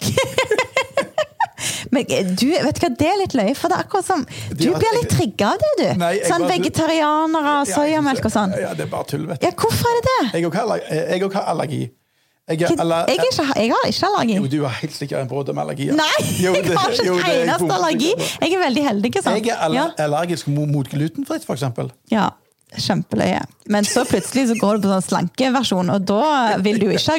[SPEAKER 2] Men eh, du, vet du hva, det er litt løye, for det er akkurat som Du
[SPEAKER 1] har-
[SPEAKER 2] blir litt trigga av det, du.
[SPEAKER 1] Nei, jeg
[SPEAKER 2] Sånn
[SPEAKER 1] bare-
[SPEAKER 2] vegetarianere og
[SPEAKER 1] Ja, jeg synes
[SPEAKER 2] soyamelk og sånn.
[SPEAKER 1] det- Ja, det er bare tull, vet du.
[SPEAKER 2] Ja, hvorfor er det det?
[SPEAKER 1] Jeg òg har allergi. Jeg, også har allergi. Jeg er
[SPEAKER 2] Jeg,
[SPEAKER 1] aller-
[SPEAKER 2] er ikke, jeg har ikke allergi.
[SPEAKER 1] Jo, du har helt sikkert en brodd om allergier.
[SPEAKER 2] Nei,
[SPEAKER 1] *laughs* Jo, det-
[SPEAKER 2] jeg har ikke
[SPEAKER 1] jo,
[SPEAKER 2] en
[SPEAKER 1] det er jeg
[SPEAKER 2] eneste
[SPEAKER 1] bombesikker
[SPEAKER 2] allergi.
[SPEAKER 1] på.
[SPEAKER 2] Jeg er veldig heldig, ikke sant?
[SPEAKER 1] Jeg er aller,
[SPEAKER 2] Ja.
[SPEAKER 1] allergisk mo- mot glutenfritt, for eksempel.
[SPEAKER 2] Ja, kjempeløye. Men så plutselig så går du på sånn slankeversjon, og da vil du jo ikke ha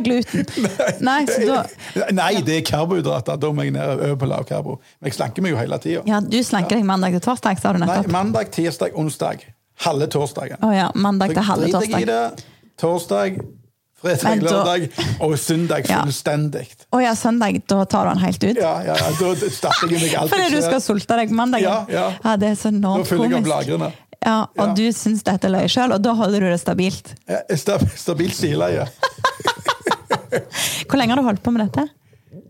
[SPEAKER 1] *laughs*
[SPEAKER 2] gluten. Nei, så da...
[SPEAKER 1] Eh, Nei, det er karbohydrater. Da må jeg ned over på lavkarbo. Men jeg slanker meg jo hele tida.
[SPEAKER 2] Ja, du slanker deg mandag til torsdag, sa du
[SPEAKER 1] Nei,
[SPEAKER 2] nettopp.
[SPEAKER 1] mandag, tirsdag, onsdag. Halve torsdagen.
[SPEAKER 2] Å ja, mandag til halve
[SPEAKER 1] Driter jeg i
[SPEAKER 2] torsdag.
[SPEAKER 1] det. Torsdag, fredag,
[SPEAKER 2] Men da-
[SPEAKER 1] lørdag og søndag
[SPEAKER 2] Ja.
[SPEAKER 1] fullstendig.
[SPEAKER 2] Å ja, søndag, da tar du den helt ut?
[SPEAKER 1] Ja, ja, ja, da starter jeg meg alt
[SPEAKER 2] Fordi du skal sulte deg på mandag?
[SPEAKER 1] Ja, ja.
[SPEAKER 2] det er så
[SPEAKER 1] Da
[SPEAKER 2] enormt
[SPEAKER 1] fyller jeg opp
[SPEAKER 2] komisk.
[SPEAKER 1] lagrene.
[SPEAKER 2] Ja, og
[SPEAKER 1] Ja.
[SPEAKER 2] du syns dette er løye sjøl, og da holder du det stabilt.
[SPEAKER 1] Ja, stab- Stabilt stileie.
[SPEAKER 2] Hvor lenge har du holdt på med dette?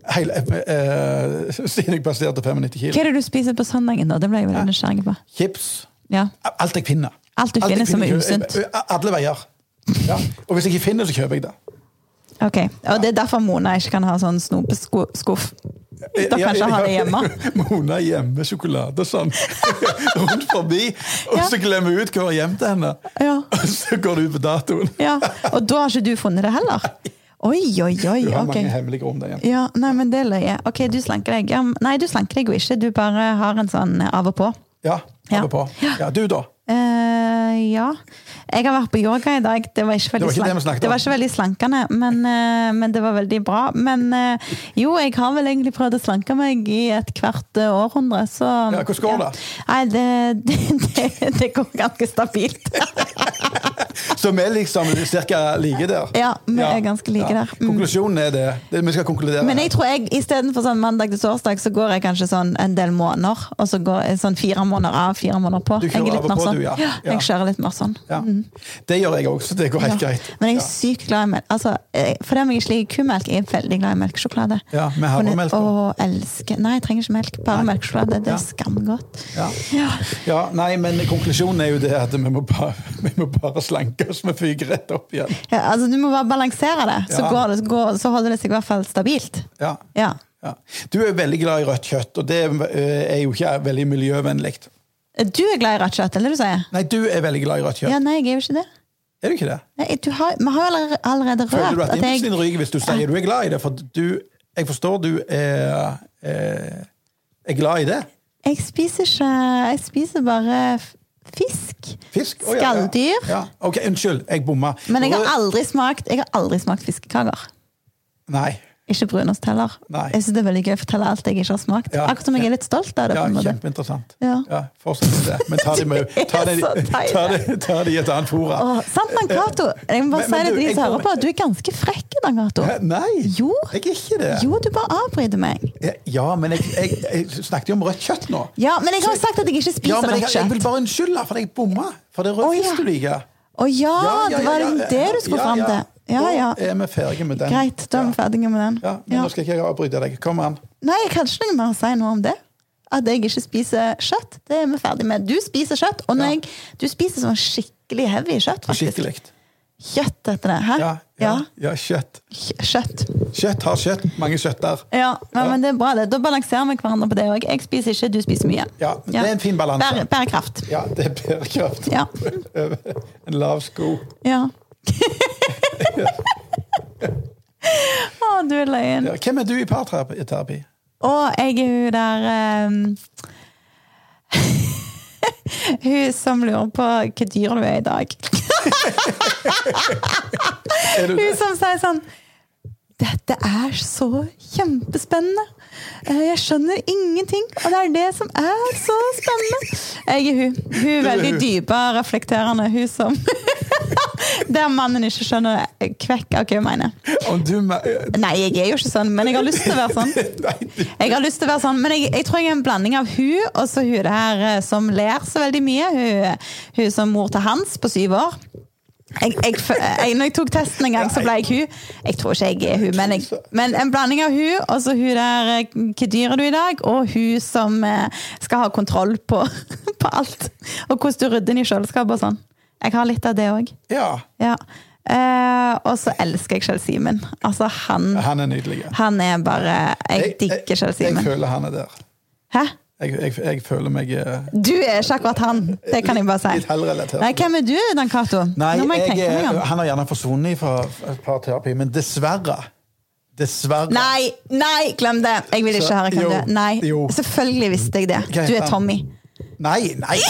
[SPEAKER 1] Hele, eh, eh, siden jeg passerte 95 kilo.
[SPEAKER 2] Hva er det du spiser på søndagen, da? Det ble jeg veldig nysgjerrig på.
[SPEAKER 1] Chips.
[SPEAKER 2] Ja.
[SPEAKER 1] Alt jeg finner.
[SPEAKER 2] Alt du
[SPEAKER 1] jeg
[SPEAKER 2] finner som er
[SPEAKER 1] kjø-
[SPEAKER 2] usunt.
[SPEAKER 1] eh, Alle veier. Ja. Og hvis jeg ikke finner, så kjøper jeg det.
[SPEAKER 2] Ok, Og det er derfor Mona ikke kan ha sånn snopeskuff. Da kan ikke ha det hjemme.
[SPEAKER 1] Eh, *laughs* Mona gjemmer sjokolade sånn *laughs* rundt forbi, og
[SPEAKER 2] Ja.
[SPEAKER 1] så glemmer hun ut hva hun har gjemt til henne.
[SPEAKER 2] Ja.
[SPEAKER 1] *laughs* Og så går det ut på datoen.
[SPEAKER 2] Ja, Og da har ikke du funnet det heller? Oi, oi, oi.
[SPEAKER 1] Du har
[SPEAKER 2] ok.
[SPEAKER 1] mange hemmelige rom der hjemme.
[SPEAKER 2] Ja, nei, men det er løye. Ok, du slanker deg. Ja, men- nei, du slanker deg jo ikke. Du bare har en sånn av og på.
[SPEAKER 1] Ja,
[SPEAKER 2] Ja.
[SPEAKER 1] holder på. Ja, du, da?
[SPEAKER 2] Eh, ja. Jeg har vært på yoga i dag. Det var
[SPEAKER 1] Det
[SPEAKER 2] ikke veldig,
[SPEAKER 1] var ikke det vi
[SPEAKER 2] slank-
[SPEAKER 1] snakket om.
[SPEAKER 2] det var ikke veldig slankende, men, eh, men det var veldig bra. Men eh, jo, jeg har vel egentlig prøvd å slanke meg i et hvert eh, århundre, så
[SPEAKER 1] Ja, hvordan går det?
[SPEAKER 2] Nei, det, det, det, det går ganske stabilt.
[SPEAKER 1] Så vi er liksom cirka like der?
[SPEAKER 2] Ja, vi er ganske like der. Mm.
[SPEAKER 1] Konklusjonen er det. det vi skal konkludere.
[SPEAKER 2] Men
[SPEAKER 1] her.
[SPEAKER 2] jeg tror jeg, istedenfor sånn mandag til torsdag, så går jeg kanskje sånn en del måneder. Og så går jeg sånn fire måneder av, fire måneder på.
[SPEAKER 1] Du kjører
[SPEAKER 2] jeg er
[SPEAKER 1] av
[SPEAKER 2] litt
[SPEAKER 1] og
[SPEAKER 2] mer
[SPEAKER 1] på,
[SPEAKER 2] sånn.
[SPEAKER 1] du, ja.
[SPEAKER 2] Ja,
[SPEAKER 1] Ja.
[SPEAKER 2] jeg kjører litt mer sånn.
[SPEAKER 1] Ja. Det gjør jeg òg, så det går helt
[SPEAKER 2] Ja.
[SPEAKER 1] greit.
[SPEAKER 2] Men jeg
[SPEAKER 1] Ja.
[SPEAKER 2] er sykt glad i melk. Altså, eh, for dem jeg ikke liker kumelk, jeg er veldig glad i melkesjokolade.
[SPEAKER 1] Ja, med havremelk, da.
[SPEAKER 2] Og elsker Nei, jeg trenger ikke melk. Bare
[SPEAKER 1] Nei.
[SPEAKER 2] melkesjokolade. Det
[SPEAKER 1] Ja.
[SPEAKER 2] er skamgodt.
[SPEAKER 1] Ja.
[SPEAKER 2] Ja.
[SPEAKER 1] ja, nei, men konklusjonen er jo det at vi må bare, *laughs* vi må bare slanke oss, vi fyker rett opp igjen.
[SPEAKER 2] Ja, altså, du må bare balansere det, så,
[SPEAKER 1] Ja.
[SPEAKER 2] går det, så, går, så holder det seg i hvert fall stabilt.
[SPEAKER 1] Ja.
[SPEAKER 2] Ja.
[SPEAKER 1] Ja. Du er veldig glad i rødt kjøtt, og det eh, er jo ikke veldig miljøvennlig.
[SPEAKER 2] Du er glad i rødt kjøtt, eller du sier?
[SPEAKER 1] Nei, du er veldig glad i rødt
[SPEAKER 2] Ja,
[SPEAKER 1] kjøtt.
[SPEAKER 2] nei, jeg er jo ikke det.
[SPEAKER 1] Er du ikke det?
[SPEAKER 2] Nei, du har, vi har jo allerede, allerede
[SPEAKER 1] Føler du
[SPEAKER 2] rørt
[SPEAKER 1] at
[SPEAKER 2] at
[SPEAKER 1] impulsen
[SPEAKER 2] jeg
[SPEAKER 1] din ryker hvis du sier du er glad i det? For du, jeg forstår du er, er, er glad i det.
[SPEAKER 2] Jeg spiser ikke Jeg spiser bare f- fisk.
[SPEAKER 1] Fisk? Å, ja, ja.
[SPEAKER 2] Skalldyr.
[SPEAKER 1] Ja. Ok, unnskyld, jeg bomma.
[SPEAKER 2] Men jeg har aldri smakt, jeg har aldri smakt fiskekaker.
[SPEAKER 1] Nei.
[SPEAKER 2] Ikke brunost heller.
[SPEAKER 1] Nei.
[SPEAKER 2] Jeg synes Det er veldig gøy å fortelle alt jeg ikke har smakt.
[SPEAKER 1] Ja.
[SPEAKER 2] Akkurat som jeg er litt stolt av det.
[SPEAKER 1] Ja,
[SPEAKER 2] på en måte.
[SPEAKER 1] kjempeinteressant.
[SPEAKER 2] Ja.
[SPEAKER 1] Fortsett med det. Men ta det,
[SPEAKER 2] *laughs*
[SPEAKER 1] med,
[SPEAKER 2] Det er
[SPEAKER 1] ta det,
[SPEAKER 2] så deilig.
[SPEAKER 1] ta det, ta det i et annet fora.
[SPEAKER 2] Åh, sant, Dan Cato? Jeg
[SPEAKER 1] Eh, Men-
[SPEAKER 2] må bare
[SPEAKER 1] men
[SPEAKER 2] si
[SPEAKER 1] du,
[SPEAKER 2] det til de
[SPEAKER 1] jeg
[SPEAKER 2] som
[SPEAKER 1] kom-
[SPEAKER 2] hører på. Du er ganske frekk, Dan Cato.
[SPEAKER 1] Hæ? Nei,
[SPEAKER 2] Jo.
[SPEAKER 1] jeg er ikke det.
[SPEAKER 2] Jo, du bare avbryter meg.
[SPEAKER 1] Ja, men jeg, jeg, jeg snakket jo om rødt kjøtt nå.
[SPEAKER 2] Ja, men jeg har jo sagt at jeg ikke
[SPEAKER 1] Ja,
[SPEAKER 2] spiser
[SPEAKER 1] men jeg,
[SPEAKER 2] rødt
[SPEAKER 1] jeg vil
[SPEAKER 2] kjøtt.
[SPEAKER 1] bare unnskylde, for jeg bomma. For det er rød
[SPEAKER 2] Å, ja.
[SPEAKER 1] fisk du liker.
[SPEAKER 2] Å ja,
[SPEAKER 1] Ja, ja,
[SPEAKER 2] det
[SPEAKER 1] ja,
[SPEAKER 2] var liksom
[SPEAKER 1] ja, ja.
[SPEAKER 2] det du skulle
[SPEAKER 1] Ja,
[SPEAKER 2] fram
[SPEAKER 1] ja.
[SPEAKER 2] til. Ja, ja.
[SPEAKER 1] Da er vi ferdige med den.
[SPEAKER 2] Greit, da er vi
[SPEAKER 1] ja.
[SPEAKER 2] ferdige med den.
[SPEAKER 1] Ja, men
[SPEAKER 2] Ja.
[SPEAKER 1] Nå skal ikke jeg avbryte deg. Kom an.
[SPEAKER 2] Nei, jeg kan ikke noe mer å si noe om det. At jeg ikke spiser kjøtt. Det er vi ferdig med. Du spiser kjøtt, og når
[SPEAKER 1] Ja.
[SPEAKER 2] jeg, du spiser sånn skikkelig heavy kjøtt. faktisk.
[SPEAKER 1] Skikkelig.
[SPEAKER 2] Kjøtt heter det. Hæ?
[SPEAKER 1] Ja, ja, ja, kjøtt.
[SPEAKER 2] Kj- Kjøtt.
[SPEAKER 1] Kjøtt har kjøtt. Mange kjøtter.
[SPEAKER 2] Ja, men,
[SPEAKER 1] Ja.
[SPEAKER 2] men det er bra, det. Da balanserer vi hverandre på det òg. Jeg spiser ikke, du spiser mye.
[SPEAKER 1] Ja, det er en fin balanse.
[SPEAKER 2] Bære, bærekraft.
[SPEAKER 1] Ja, det er bærekraft.
[SPEAKER 2] Ja.
[SPEAKER 1] En lav sko.
[SPEAKER 2] ja.
[SPEAKER 1] *laughs*
[SPEAKER 2] Å, du er løyen.
[SPEAKER 1] Ja, Hvem er du i parterapi?
[SPEAKER 2] Å, jeg er hun der ehm, eh, *laughs* Hun som lurer på hva dyr du er i dag.
[SPEAKER 1] Er du
[SPEAKER 2] Hun som sier sånn Dette er så kjempespennende. Eh, Jeg skjønner ingenting, og det er det som er så spennende. Jeg er hun. Hun er veldig dype, reflekterende. Hun som *laughs* Der mannen ikke skjønner kvekk av hva hun mener.
[SPEAKER 1] Om du me-
[SPEAKER 2] Nei, jeg er jo ikke sånn, men jeg har lyst til å være sånn.
[SPEAKER 1] *laughs* Nei, du
[SPEAKER 2] Jeg har lyst til å være sånn, men jeg, jeg tror jeg er en blanding av hun og så hun der eh, som ler så veldig mye. Hun, hun som mor til Hans på syv år. Jeg, jeg, f- jeg, når jeg tok testen en gang, så ble jeg hun. Jeg tror ikke jeg er hun, men, jeg, men en blanding av hun og så hun der eh, Hva dyr er du i dag? Og hun som eh, skal ha kontroll på, *laughs* på alt. Og hvordan du rydder inn i kjøleskapet og sånn. Jeg har litt av det òg.
[SPEAKER 1] Ja,
[SPEAKER 2] Ja. Eh, og så elsker jeg Kjell Simen. Altså, han,
[SPEAKER 1] han er nydelig. Jeg,
[SPEAKER 2] han er bare Jeg digger Kjell
[SPEAKER 1] Jeg,
[SPEAKER 2] Simen.
[SPEAKER 1] jeg føler han er der.
[SPEAKER 2] Hæ?
[SPEAKER 1] Jeg, jeg, jeg føler meg eh,
[SPEAKER 2] Du er ikke akkurat han, det kan jeg bare si.
[SPEAKER 1] Litt hellrelatert.
[SPEAKER 2] Nei, hvem er du, Dan Cato?
[SPEAKER 1] Nei,
[SPEAKER 2] Nå må jeg
[SPEAKER 1] jeg,
[SPEAKER 2] tenke meg
[SPEAKER 1] er-
[SPEAKER 2] om.
[SPEAKER 1] han har gjerne forsvunnet fra parterapi, men dessverre Dessverre.
[SPEAKER 2] Nei, nei, glem det! Jeg vil ikke
[SPEAKER 1] Så-
[SPEAKER 2] høre hvem
[SPEAKER 1] jo,
[SPEAKER 2] det er. Nei,
[SPEAKER 1] jo.
[SPEAKER 2] selvfølgelig visste jeg det.
[SPEAKER 1] Hva
[SPEAKER 2] Du
[SPEAKER 1] heter
[SPEAKER 2] er
[SPEAKER 1] han?
[SPEAKER 2] Tommy.
[SPEAKER 1] Nei, nei.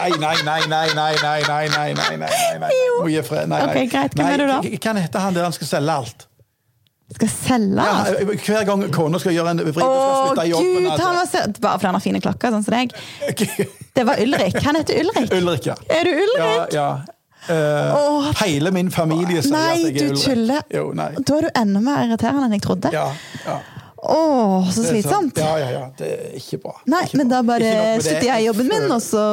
[SPEAKER 1] Nei, nei, nei, nei, nei, nei, nei, nei, nei, nei, nei, nei.
[SPEAKER 2] Jo.
[SPEAKER 1] Må gi fred. Nei, nei.
[SPEAKER 2] Ok, greit. Hvem er du da?
[SPEAKER 1] Nei, Hva heter han der han skal selge alt?
[SPEAKER 2] Skal selge
[SPEAKER 1] Ja,
[SPEAKER 2] alt.
[SPEAKER 1] hver gang kona skal gjøre en vri,
[SPEAKER 2] Å,
[SPEAKER 1] skal slutte i jobben.
[SPEAKER 2] Ah. gud! Han var så... Bare fordi han har fine klokker, sånn som deg.
[SPEAKER 1] altså.
[SPEAKER 2] Det var Ulrik. Han heter
[SPEAKER 1] *laughs*
[SPEAKER 2] Ulrik.
[SPEAKER 1] Ulrik, ja.
[SPEAKER 2] Er du
[SPEAKER 1] Ja,
[SPEAKER 2] Ulrik?
[SPEAKER 1] ja. Eh,
[SPEAKER 2] Åh.
[SPEAKER 1] hele min familie sier at
[SPEAKER 2] Nei,
[SPEAKER 1] jeg er
[SPEAKER 2] du
[SPEAKER 1] Ulrik.
[SPEAKER 2] tuller.
[SPEAKER 1] Jo, nei.
[SPEAKER 2] Da er du enda mer irriterende enn jeg trodde.
[SPEAKER 1] Ja, ja. Det er
[SPEAKER 2] Åh, så
[SPEAKER 1] sant.
[SPEAKER 2] slitsomt.
[SPEAKER 1] Ja, ja, ja. Det er ikke bra.
[SPEAKER 2] Nei,
[SPEAKER 1] Ikke
[SPEAKER 2] men
[SPEAKER 1] bra.
[SPEAKER 2] da bare
[SPEAKER 1] Ikke nok med det.
[SPEAKER 2] slutter jeg i jobben min, og så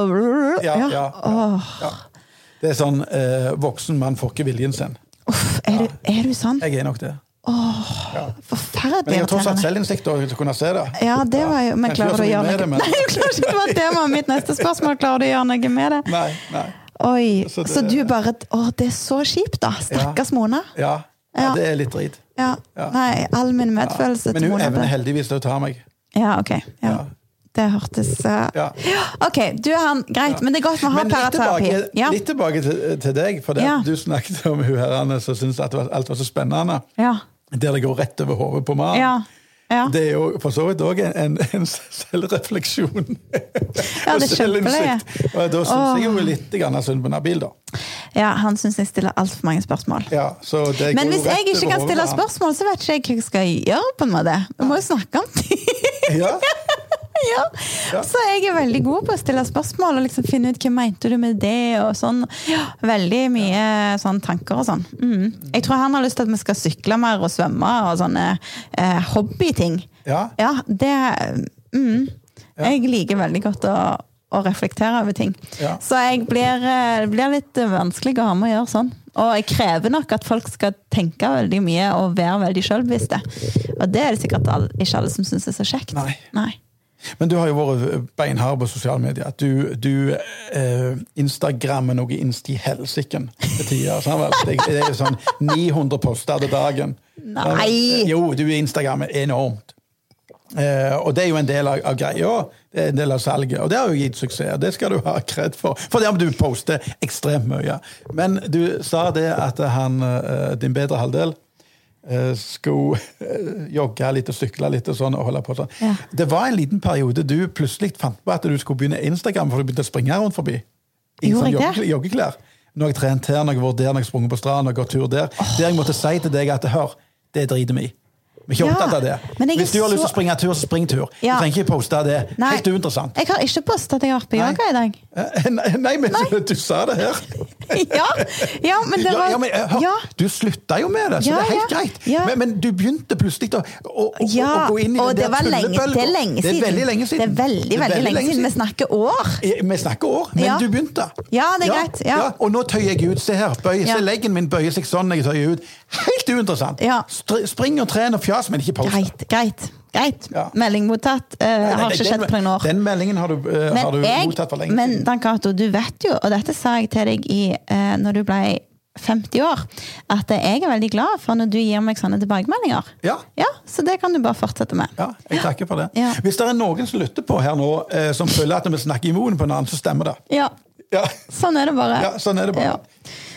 [SPEAKER 1] Ja, ja,
[SPEAKER 2] Ja.
[SPEAKER 1] ja, ja. Det er sånn eh, voksen mann får ikke viljen sin.
[SPEAKER 2] Uff, er du, er du sånn?
[SPEAKER 1] Jeg er nok det. Ja. Men
[SPEAKER 2] Forferdelig
[SPEAKER 1] jeg har tross alt
[SPEAKER 2] irriterende.
[SPEAKER 1] selvinnsikt og til å kunne se det.
[SPEAKER 2] Ja, det var jo, men
[SPEAKER 1] Kanskje
[SPEAKER 2] klarer du
[SPEAKER 1] gjør
[SPEAKER 2] å
[SPEAKER 1] så
[SPEAKER 2] gjøre
[SPEAKER 1] mye
[SPEAKER 2] noe
[SPEAKER 1] med
[SPEAKER 2] Nei,
[SPEAKER 1] det,
[SPEAKER 2] *laughs* jeg klarer ikke det var temaet mitt neste spørsmål. Klarer du å gjøre noe med det?
[SPEAKER 1] men... Nei, nei.
[SPEAKER 2] Oi,
[SPEAKER 1] Så det-
[SPEAKER 2] Så du bare Å, det er så kjipt, da. Stakkars Mona.
[SPEAKER 1] Ja. ja,
[SPEAKER 2] Ja.
[SPEAKER 1] det er litt drit.
[SPEAKER 2] Ja.
[SPEAKER 1] Ja.
[SPEAKER 2] Nei, all min medfølelse
[SPEAKER 1] Men
[SPEAKER 2] til
[SPEAKER 1] hun
[SPEAKER 2] Mona.
[SPEAKER 1] evner
[SPEAKER 2] ble-
[SPEAKER 1] heldigvis til å ta meg.
[SPEAKER 2] Ja, ok. Ja.
[SPEAKER 1] Ja.
[SPEAKER 2] Det hørtes eh,
[SPEAKER 1] Ja.
[SPEAKER 2] ja. Ok, du er han. Greit, men det er godt vi har
[SPEAKER 1] Men litt
[SPEAKER 2] paraterapi.
[SPEAKER 1] tilbake,
[SPEAKER 2] Ja.
[SPEAKER 1] litt tilbake til, til deg, for det at
[SPEAKER 2] Ja.
[SPEAKER 1] du snakket om hun her Anne, som syntes at det var- alt var så spennende.
[SPEAKER 2] Ja.
[SPEAKER 1] Der det går rett over hodet på mannen.
[SPEAKER 2] Ja. ja.
[SPEAKER 1] Det er jo for så vidt òg en, en, en selvrefleksjon.
[SPEAKER 2] Ja,
[SPEAKER 1] Og
[SPEAKER 2] det skjønte jeg.
[SPEAKER 1] selvinnsikt. Og da syns jeg jo litt grann synd på Nabil, da.
[SPEAKER 2] ja han syns jeg stiller altfor mange spørsmål.
[SPEAKER 1] Ja, så det
[SPEAKER 2] Men
[SPEAKER 1] går
[SPEAKER 2] hvis
[SPEAKER 1] jo
[SPEAKER 2] jeg
[SPEAKER 1] rett
[SPEAKER 2] ikke
[SPEAKER 1] over
[SPEAKER 2] kan
[SPEAKER 1] hodet
[SPEAKER 2] stille
[SPEAKER 1] på han.
[SPEAKER 2] spørsmål, så vet ikke jeg hva jeg skal gjøre. på en måte. Vi må jo snakke om ting.
[SPEAKER 1] *laughs* Ja,
[SPEAKER 2] *laughs* ja. Så jeg er veldig god på å stille spørsmål og liksom finne ut hva mente du med det. og sånn. Ja, Veldig mye sånn tanker og sånn. Mm. Jeg tror han har lyst til at vi skal sykle mer og svømme og sånne eh, hobbyting.
[SPEAKER 1] ja.
[SPEAKER 2] Ja, det mm. Jeg liker veldig godt å, å reflektere over ting.
[SPEAKER 1] Ja.
[SPEAKER 2] Så jeg blir, eh, det blir litt vanskelig å ha med å gjøre sånn. Og jeg krever nok at folk skal tenke veldig mye og være veldig sjølbevisste. Og det er det sikkert all, ikke alle som syns er så kjekt.
[SPEAKER 1] Nei. Men du har jo vært beinhard på sosiale medier. Du, du eh, instagrammer noe inst i helsiken til tider. sant vel? Det, det er jo sånn 900 poster til dagen. eh,
[SPEAKER 2] Nei!
[SPEAKER 1] Jo, du instagrammer enormt. Eh, og det er jo en del av, av greia. Det er en del av salget. Og det har jo gitt suksess. Det skal du ha *laughs* kred for. For det om du poster ekstremt mye. Men du sa det at han, eh, din bedre halvdel eh, skulle eh, jogge litt og sykle litt og sånn og holde på sånn.
[SPEAKER 2] Ja.
[SPEAKER 1] Det var en liten periode du plutselig fant på at du skulle begynne Instagram, for du begynte å springe rundt forbi. I
[SPEAKER 2] Gjorde
[SPEAKER 1] sånn
[SPEAKER 2] jeg
[SPEAKER 1] jogge-
[SPEAKER 2] det?
[SPEAKER 1] joggeklær. Når jeg trent her, når jeg har vært der, når jeg har sprunget på stranden, når jeg har gått tur der. Der jeg måtte si til deg at hør, det driter vi i. Vi er ikke
[SPEAKER 2] Ja,
[SPEAKER 1] opptatt av det.
[SPEAKER 2] men jeg er
[SPEAKER 1] Hvis du har lyst til
[SPEAKER 2] så-
[SPEAKER 1] å springe tur, så spring tur.
[SPEAKER 2] Ja.
[SPEAKER 1] Du trenger ikke poste det.
[SPEAKER 2] Nei.
[SPEAKER 1] Helt uinteressant.
[SPEAKER 2] Jeg har ikke postet at jeg har vært på
[SPEAKER 1] Nei.
[SPEAKER 2] yoga
[SPEAKER 1] *laughs*
[SPEAKER 2] i dag.
[SPEAKER 1] Eh, Nei, men du sa det her.
[SPEAKER 2] Ja, ja men det
[SPEAKER 1] Ja,
[SPEAKER 2] var
[SPEAKER 1] ja, men, eh, hør,
[SPEAKER 2] ja.
[SPEAKER 1] Du slutta jo med det, så
[SPEAKER 2] Ja,
[SPEAKER 1] det er helt
[SPEAKER 2] ja.
[SPEAKER 1] greit.
[SPEAKER 2] Ja.
[SPEAKER 1] Men, men du begynte plutselig å, å, å,
[SPEAKER 2] Ja,
[SPEAKER 1] å gå inn i den
[SPEAKER 2] og det,
[SPEAKER 1] der
[SPEAKER 2] var lenge,
[SPEAKER 1] tullebølgen.
[SPEAKER 2] det er lenge siden.
[SPEAKER 1] Det er veldig lenge
[SPEAKER 2] Det er
[SPEAKER 1] siden.
[SPEAKER 2] veldig,
[SPEAKER 1] Det er
[SPEAKER 2] veldig lenge siden. Vi snakker år.
[SPEAKER 1] Eh, Vi snakker år, men
[SPEAKER 2] Ja.
[SPEAKER 1] du begynte.
[SPEAKER 2] Ja, det er greit, ja.
[SPEAKER 1] Og nå tøyer jeg ut. Se her. Bøyer,
[SPEAKER 2] Ja.
[SPEAKER 1] se leggen min bøyer seg sånn. jeg tøyer ut. Helt uinteressant.
[SPEAKER 2] Ja.
[SPEAKER 1] Str spring og tren og fjas, men ikke post.
[SPEAKER 2] Greit, greit. Greit.
[SPEAKER 1] Ja.
[SPEAKER 2] Melding mottatt. Eh, det har ikke
[SPEAKER 1] Den-
[SPEAKER 2] skjedd på noen år.
[SPEAKER 1] Den meldingen har du, eh, har du mottatt for lenge
[SPEAKER 2] men
[SPEAKER 1] siden.
[SPEAKER 2] Dan Cato, du vet jo, og dette sa jeg til deg i, eh, når du ble 50 år, at jeg er veldig glad for når du gir meg sånne tilbakemeldinger.
[SPEAKER 1] Ja.
[SPEAKER 2] Ja, Så det kan du bare fortsette med.
[SPEAKER 1] Ja, jeg takker for det.
[SPEAKER 2] Ja.
[SPEAKER 1] Hvis det er noen som lytter på her nå, eh, som føler at vi snakker i munnen på en annen, så stemmer det.
[SPEAKER 2] Ja,
[SPEAKER 1] Ja,
[SPEAKER 2] Sånn er det bare.
[SPEAKER 1] ja sånn er det bare.
[SPEAKER 2] Ja.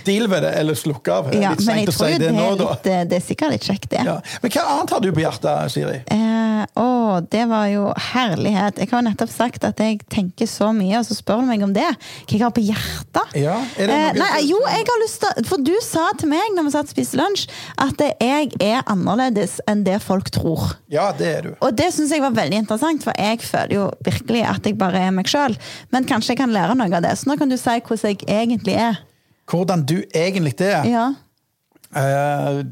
[SPEAKER 1] Deal med det, eller slukk av.
[SPEAKER 2] Ja,
[SPEAKER 1] Eh, litt
[SPEAKER 2] men
[SPEAKER 1] sent
[SPEAKER 2] jeg
[SPEAKER 1] å
[SPEAKER 2] tror
[SPEAKER 1] si
[SPEAKER 2] jo
[SPEAKER 1] det,
[SPEAKER 2] det,
[SPEAKER 1] nå,
[SPEAKER 2] er
[SPEAKER 1] da.
[SPEAKER 2] litt, eh, det er sikkert litt kjekt, det.
[SPEAKER 1] Ja. Men hva annet har du på hjertet, Siri?
[SPEAKER 2] Eh, å, det var jo herlighet. Jeg har jo nettopp sagt at jeg tenker så mye, og så spør du meg om det. Hva jeg har på hjertet?
[SPEAKER 1] Ja, er det
[SPEAKER 2] eh,
[SPEAKER 1] noe-
[SPEAKER 2] nei, jo, jeg har lyst til For du sa til meg når vi satt og spiste lunsj, at jeg er annerledes enn det folk tror.
[SPEAKER 1] Ja, det er du.
[SPEAKER 2] Og det syns jeg var veldig interessant, for jeg føler jo virkelig at jeg bare er meg sjøl. Men kanskje jeg kan lære noe av det. Så nå kan du si hvordan jeg egentlig er.
[SPEAKER 1] Hvordan du egentlig er.
[SPEAKER 2] Ja.
[SPEAKER 1] Eh,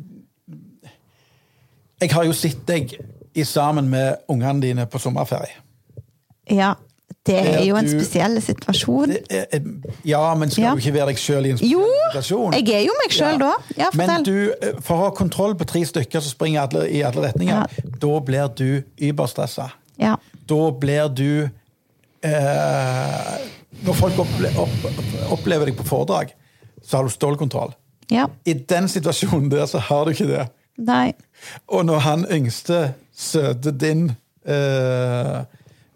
[SPEAKER 1] jeg har jo sett deg i sammen med ungene dine på sommerferie.
[SPEAKER 2] ja. Det er jo en
[SPEAKER 1] Du-
[SPEAKER 2] spesiell situasjon.
[SPEAKER 1] Det er- eh, Ja, men skal
[SPEAKER 2] Ja.
[SPEAKER 1] du ikke være deg sjøl i en
[SPEAKER 2] Jo!
[SPEAKER 1] spesiell situasjon?
[SPEAKER 2] Jeg er jo meg sjøl da. Ja,
[SPEAKER 1] men
[SPEAKER 2] fortell.
[SPEAKER 1] du, eh, for å ha kontroll på tre stykker som springer alle, i alle retninger,
[SPEAKER 2] Ja.
[SPEAKER 1] da blir du überstressa.
[SPEAKER 2] Ja.
[SPEAKER 1] Da blir du eh, Når folk opple opp opplever deg på foredrag, så har du stålkontroll.
[SPEAKER 2] ja.
[SPEAKER 1] I den situasjonen der så har du ikke det.
[SPEAKER 2] Nei.
[SPEAKER 1] Og når han yngste søte din eh,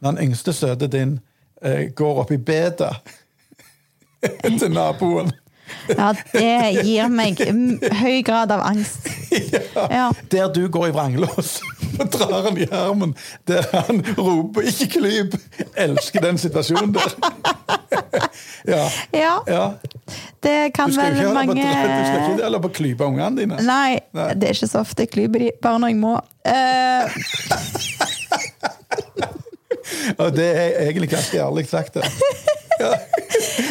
[SPEAKER 1] Når han yngste søte din eh, går opp i bedet *laughs* til naboen
[SPEAKER 2] Ja, det gir meg mm, høy grad av
[SPEAKER 1] *laughs*
[SPEAKER 2] angst. Ja.
[SPEAKER 1] Der du går i vranglås og drar han i armen, der han roper 'ikke klyp'. Elsker den situasjonen der. *laughs* ja.
[SPEAKER 2] Ja,
[SPEAKER 1] ja.
[SPEAKER 2] det
[SPEAKER 1] Du
[SPEAKER 2] kan
[SPEAKER 1] skal
[SPEAKER 2] vel
[SPEAKER 1] jo ikke holde på,
[SPEAKER 2] mange
[SPEAKER 1] du skal ikke holde på å klype ungene dine.
[SPEAKER 2] Nei,
[SPEAKER 1] Nei.
[SPEAKER 2] det er ikke så ofte jeg klyper de, bare når jeg må. Eh,
[SPEAKER 1] Og det er egentlig ganske ærlig sagt. det.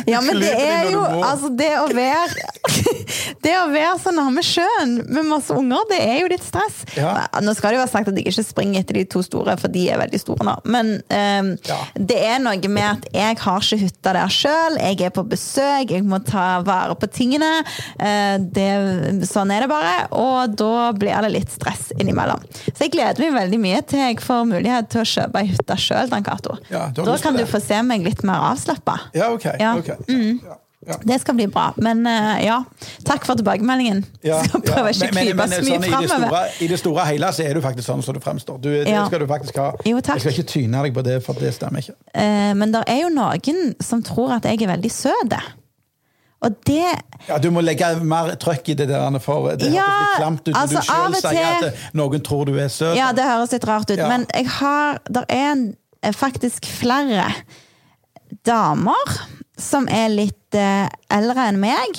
[SPEAKER 2] ja, men det
[SPEAKER 1] Klyper de
[SPEAKER 2] er
[SPEAKER 1] når du
[SPEAKER 2] jo
[SPEAKER 1] må.
[SPEAKER 2] Altså, det å være Det å være *laughs* så nærme sjøen med masse unger, det er jo litt stress.
[SPEAKER 1] Ja.
[SPEAKER 2] Nå skal det jo være sagt at jeg ikke springer etter de to store, for de er veldig store nå. Men eh,
[SPEAKER 1] Ja.
[SPEAKER 2] det er noe med at jeg har ikke hytta der sjøl. Jeg er på besøk, jeg må ta vare på tingene. Eh, det, sånn er det bare. Og da blir det litt stress innimellom. Så jeg gleder meg veldig mye til jeg får mulighet til å kjøpe ei hytte sjøl, Dan Cato.
[SPEAKER 1] Ja, du har
[SPEAKER 2] da
[SPEAKER 1] lyst på
[SPEAKER 2] kan du
[SPEAKER 1] det.
[SPEAKER 2] få se meg litt mer avslappa.
[SPEAKER 1] Ja, OK.
[SPEAKER 2] Ja. Mm.
[SPEAKER 1] ok. Ja, ja.
[SPEAKER 2] Det skal bli bra. Men eh, ja, takk for tilbakemeldingen. *laughs*
[SPEAKER 1] Ja,
[SPEAKER 2] skal prøve
[SPEAKER 1] ja.
[SPEAKER 2] ikke å
[SPEAKER 1] Men- men-
[SPEAKER 2] klype
[SPEAKER 1] men
[SPEAKER 2] så mye
[SPEAKER 1] sånn i det
[SPEAKER 2] framover.
[SPEAKER 1] store- I det store og hele så er du faktisk sånn som du fremstår. Du, Det
[SPEAKER 2] Ja.
[SPEAKER 1] skal du faktisk ha.
[SPEAKER 2] Jo, takk.
[SPEAKER 1] Jeg skal ikke tyne deg på det, for det stemmer ikke.
[SPEAKER 2] Eh, men det er jo noen som tror at jeg er veldig søt. Og det
[SPEAKER 1] Ja, du må legge mer trøkk i det der, for det
[SPEAKER 2] Ja,
[SPEAKER 1] høres litt klamt ut når
[SPEAKER 2] altså,
[SPEAKER 1] du selv
[SPEAKER 2] av og
[SPEAKER 1] sier at
[SPEAKER 2] til-
[SPEAKER 1] eh, noen tror du er søt.
[SPEAKER 2] Ja, det høres litt rart ut,
[SPEAKER 1] Ja.
[SPEAKER 2] men jeg har Det er en, eh, faktisk flere damer som er litt eh, eldre enn meg,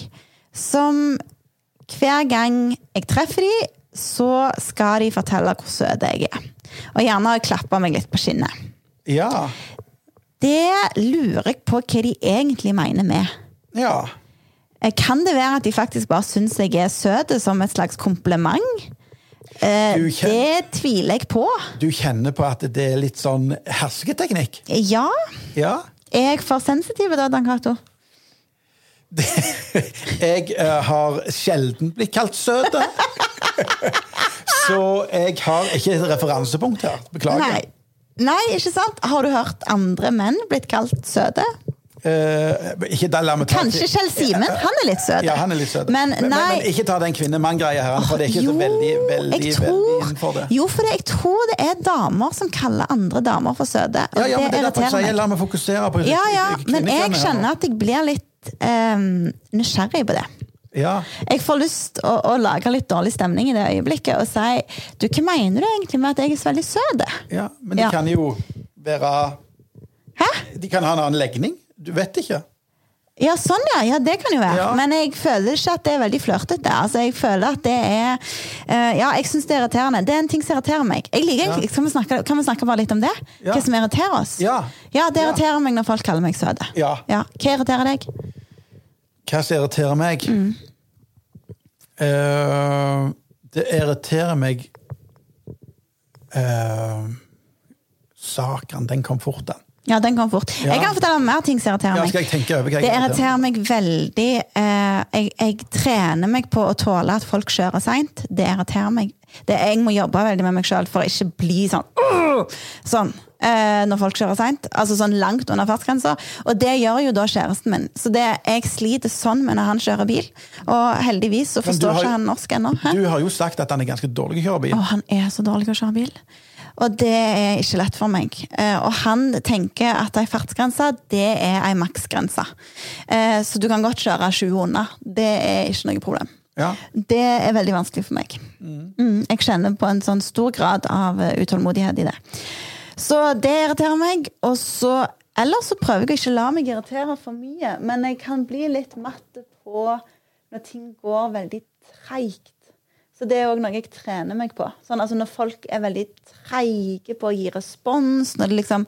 [SPEAKER 2] som hver gang jeg treffer de, så skal de fortelle hvor søt jeg er. Og gjerne klappe meg litt på skinnet.
[SPEAKER 1] Ja.
[SPEAKER 2] Det lurer jeg på hva de egentlig mener med.
[SPEAKER 1] ja.
[SPEAKER 2] Eh, Kan det være at de faktisk bare syns jeg er søt som et slags kompliment? Eh,
[SPEAKER 1] Du kjenner-
[SPEAKER 2] Det tviler jeg på.
[SPEAKER 1] Du kjenner på at det er litt sånn hersketeknikk.
[SPEAKER 2] Eh, Ja.
[SPEAKER 1] Ja.
[SPEAKER 2] Er jeg for sensitiv da, Dan Cato?
[SPEAKER 1] Jeg eh, har sjelden blitt kalt søt. *laughs* Så jeg har ikke et referansepunkt her. Beklager.
[SPEAKER 2] Nei. Nei, ikke sant? Har du hørt andre menn blitt kalt søte?
[SPEAKER 1] Eh, ikke det, la meg ta-
[SPEAKER 2] Kanskje Kjell Simen? Han er litt søt.
[SPEAKER 1] Ja, han er litt søt.
[SPEAKER 2] Men
[SPEAKER 1] men,
[SPEAKER 2] nei.
[SPEAKER 1] men ikke ta den kvinne-mann-greia her, for det er ikke så veldig, veldig, veldig
[SPEAKER 2] jeg tror,
[SPEAKER 1] innenfor det.
[SPEAKER 2] Jo, for det, jeg tror det er damer som kaller andre damer for søte. Og
[SPEAKER 1] Ja, ja, men det er derfor jeg
[SPEAKER 2] irriterer
[SPEAKER 1] sier
[SPEAKER 2] meg.
[SPEAKER 1] la meg fokusere på
[SPEAKER 2] Ja, ja, men jeg
[SPEAKER 1] kvinnekjønnet her nå.
[SPEAKER 2] kjenner at jeg blir litt eh, nysgjerrig på det.
[SPEAKER 1] Ja.
[SPEAKER 2] Jeg får lyst å, å lage litt dårlig stemning i det øyeblikket og si du, hva mener du egentlig med at jeg er så veldig søt?
[SPEAKER 1] ja, men de
[SPEAKER 2] Ja.
[SPEAKER 1] kan jo være
[SPEAKER 2] Hæ?
[SPEAKER 1] De kan ha en annen legning. Du vet ikke.
[SPEAKER 2] Ja, sånn ja. ja, det kan jo være.
[SPEAKER 1] Ja.
[SPEAKER 2] Men jeg føler ikke at det er veldig flørtete. Altså, jeg føler at det er eh, Ja, jeg syns det er irriterende. Det er en ting som irriterer meg. Jeg liker,
[SPEAKER 1] Ja.
[SPEAKER 2] kan, vi snakke, kan vi snakke bare litt om det?
[SPEAKER 1] Ja.
[SPEAKER 2] Hva som irriterer oss?
[SPEAKER 1] Ja.
[SPEAKER 2] det
[SPEAKER 1] Ja.
[SPEAKER 2] irriterer meg når folk kaller meg søt.
[SPEAKER 1] Ja.
[SPEAKER 2] Hva irriterer deg?
[SPEAKER 1] Hva som irriterer meg?
[SPEAKER 2] Mm.
[SPEAKER 1] Eh, det irriterer meg eh, Saken, den kom fort, den.
[SPEAKER 2] Ja, den kom fort.
[SPEAKER 1] Ja.
[SPEAKER 2] Jeg kan fortelle om mer ting som irriterer
[SPEAKER 1] Ja,
[SPEAKER 2] meg.
[SPEAKER 1] skal jeg tenke over hva jeg
[SPEAKER 2] det
[SPEAKER 1] irriterer
[SPEAKER 2] irriterer meg veldig. eh, jeg, jeg trener meg på å tåle at folk kjører seint. Det irriterer meg. Det, jeg må jobbe veldig med meg sjøl for å ikke bli sånn «Åh!» Sånn eh, når folk kjører seint. Altså sånn langt under fartsgrensa. Og det gjør jo da kjæresten min. Så det, jeg sliter sånn med når han kjører bil. Og heldigvis så
[SPEAKER 1] Men du
[SPEAKER 2] forstår
[SPEAKER 1] har-
[SPEAKER 2] ikke han norsk ennå. Hæ?
[SPEAKER 1] Du har jo sagt at han er ganske dårlig til å kjøre bil.
[SPEAKER 2] Og han er så dårlig til å kjøre bil. Og det er ikke lett for meg. Eh, Og han tenker at ei fartsgrense, det er ei maksgrense. Eh, Så du kan godt kjøre 20 under. Det er ikke noe problem.
[SPEAKER 1] Ja.
[SPEAKER 2] Det er veldig vanskelig for meg. Mm, jeg kjenner på en sånn stor grad av eh, utålmodighet i det. Så det irriterer meg. Og så Ellers så prøver jeg å ikke la meg irritere for mye, men jeg kan bli litt matt på når ting går veldig treigt. Så det er òg noe jeg trener meg på. Sånn, altså når folk er veldig treige på å gi respons, når det liksom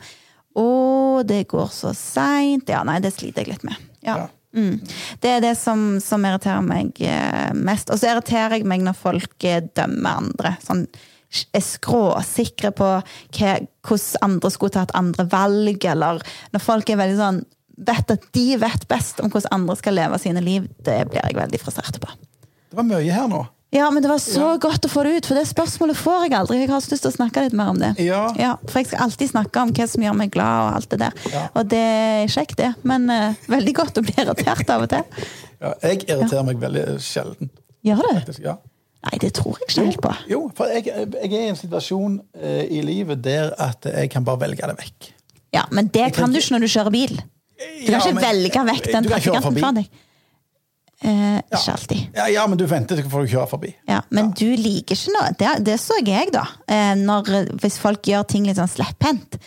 [SPEAKER 2] Å, det går så seint. Ja, nei, det sliter jeg litt med.
[SPEAKER 1] Ja.
[SPEAKER 2] ja. Mm. Det er det som, som irriterer meg eh, mest. Og så irriterer jeg meg når folk eh, dømmer andre. Sånn, er skråsikre på hva, hvordan andre skulle tatt andre valg, eller når folk er veldig sånn Vet at de vet best om hvordan andre skal leve sine liv. Det blir jeg veldig frustrert på.
[SPEAKER 1] Det var mye her nå.
[SPEAKER 2] Ja, men det var så godt å få det ut, for det spørsmålet får jeg aldri. Jeg har så lyst til å snakke litt mer om det.
[SPEAKER 1] Ja.
[SPEAKER 2] For jeg skal alltid snakke om hva som gjør meg glad, og alt det der.
[SPEAKER 1] Ja.
[SPEAKER 2] Og det er kjekt, det, men eh, veldig godt å bli irritert av og til.
[SPEAKER 1] Ja, jeg irriterer meg veldig sjelden.
[SPEAKER 2] Gjør du?
[SPEAKER 1] faktisk, Ja.
[SPEAKER 2] Nei, det tror jeg ikke helt på.
[SPEAKER 1] Jo, for jeg, jeg er i en situasjon eh, i livet der at jeg kan bare velge det vekk.
[SPEAKER 2] Ja, Men det
[SPEAKER 1] tenker-
[SPEAKER 2] kan du ikke når du kjører bil. Du kan
[SPEAKER 1] Ja,
[SPEAKER 2] ikke
[SPEAKER 1] men-
[SPEAKER 2] velge vekk den
[SPEAKER 1] Du kan kjøre
[SPEAKER 2] trafikanten
[SPEAKER 1] forbi.
[SPEAKER 2] fra deg. Eh, ikke alltid.
[SPEAKER 1] Ja, ja, men du venter til du får kjøre forbi.
[SPEAKER 2] Ja, men du liker ikke noe Det, det så jeg, da. Eh, når, hvis folk gjør ting litt sånn slepphendt.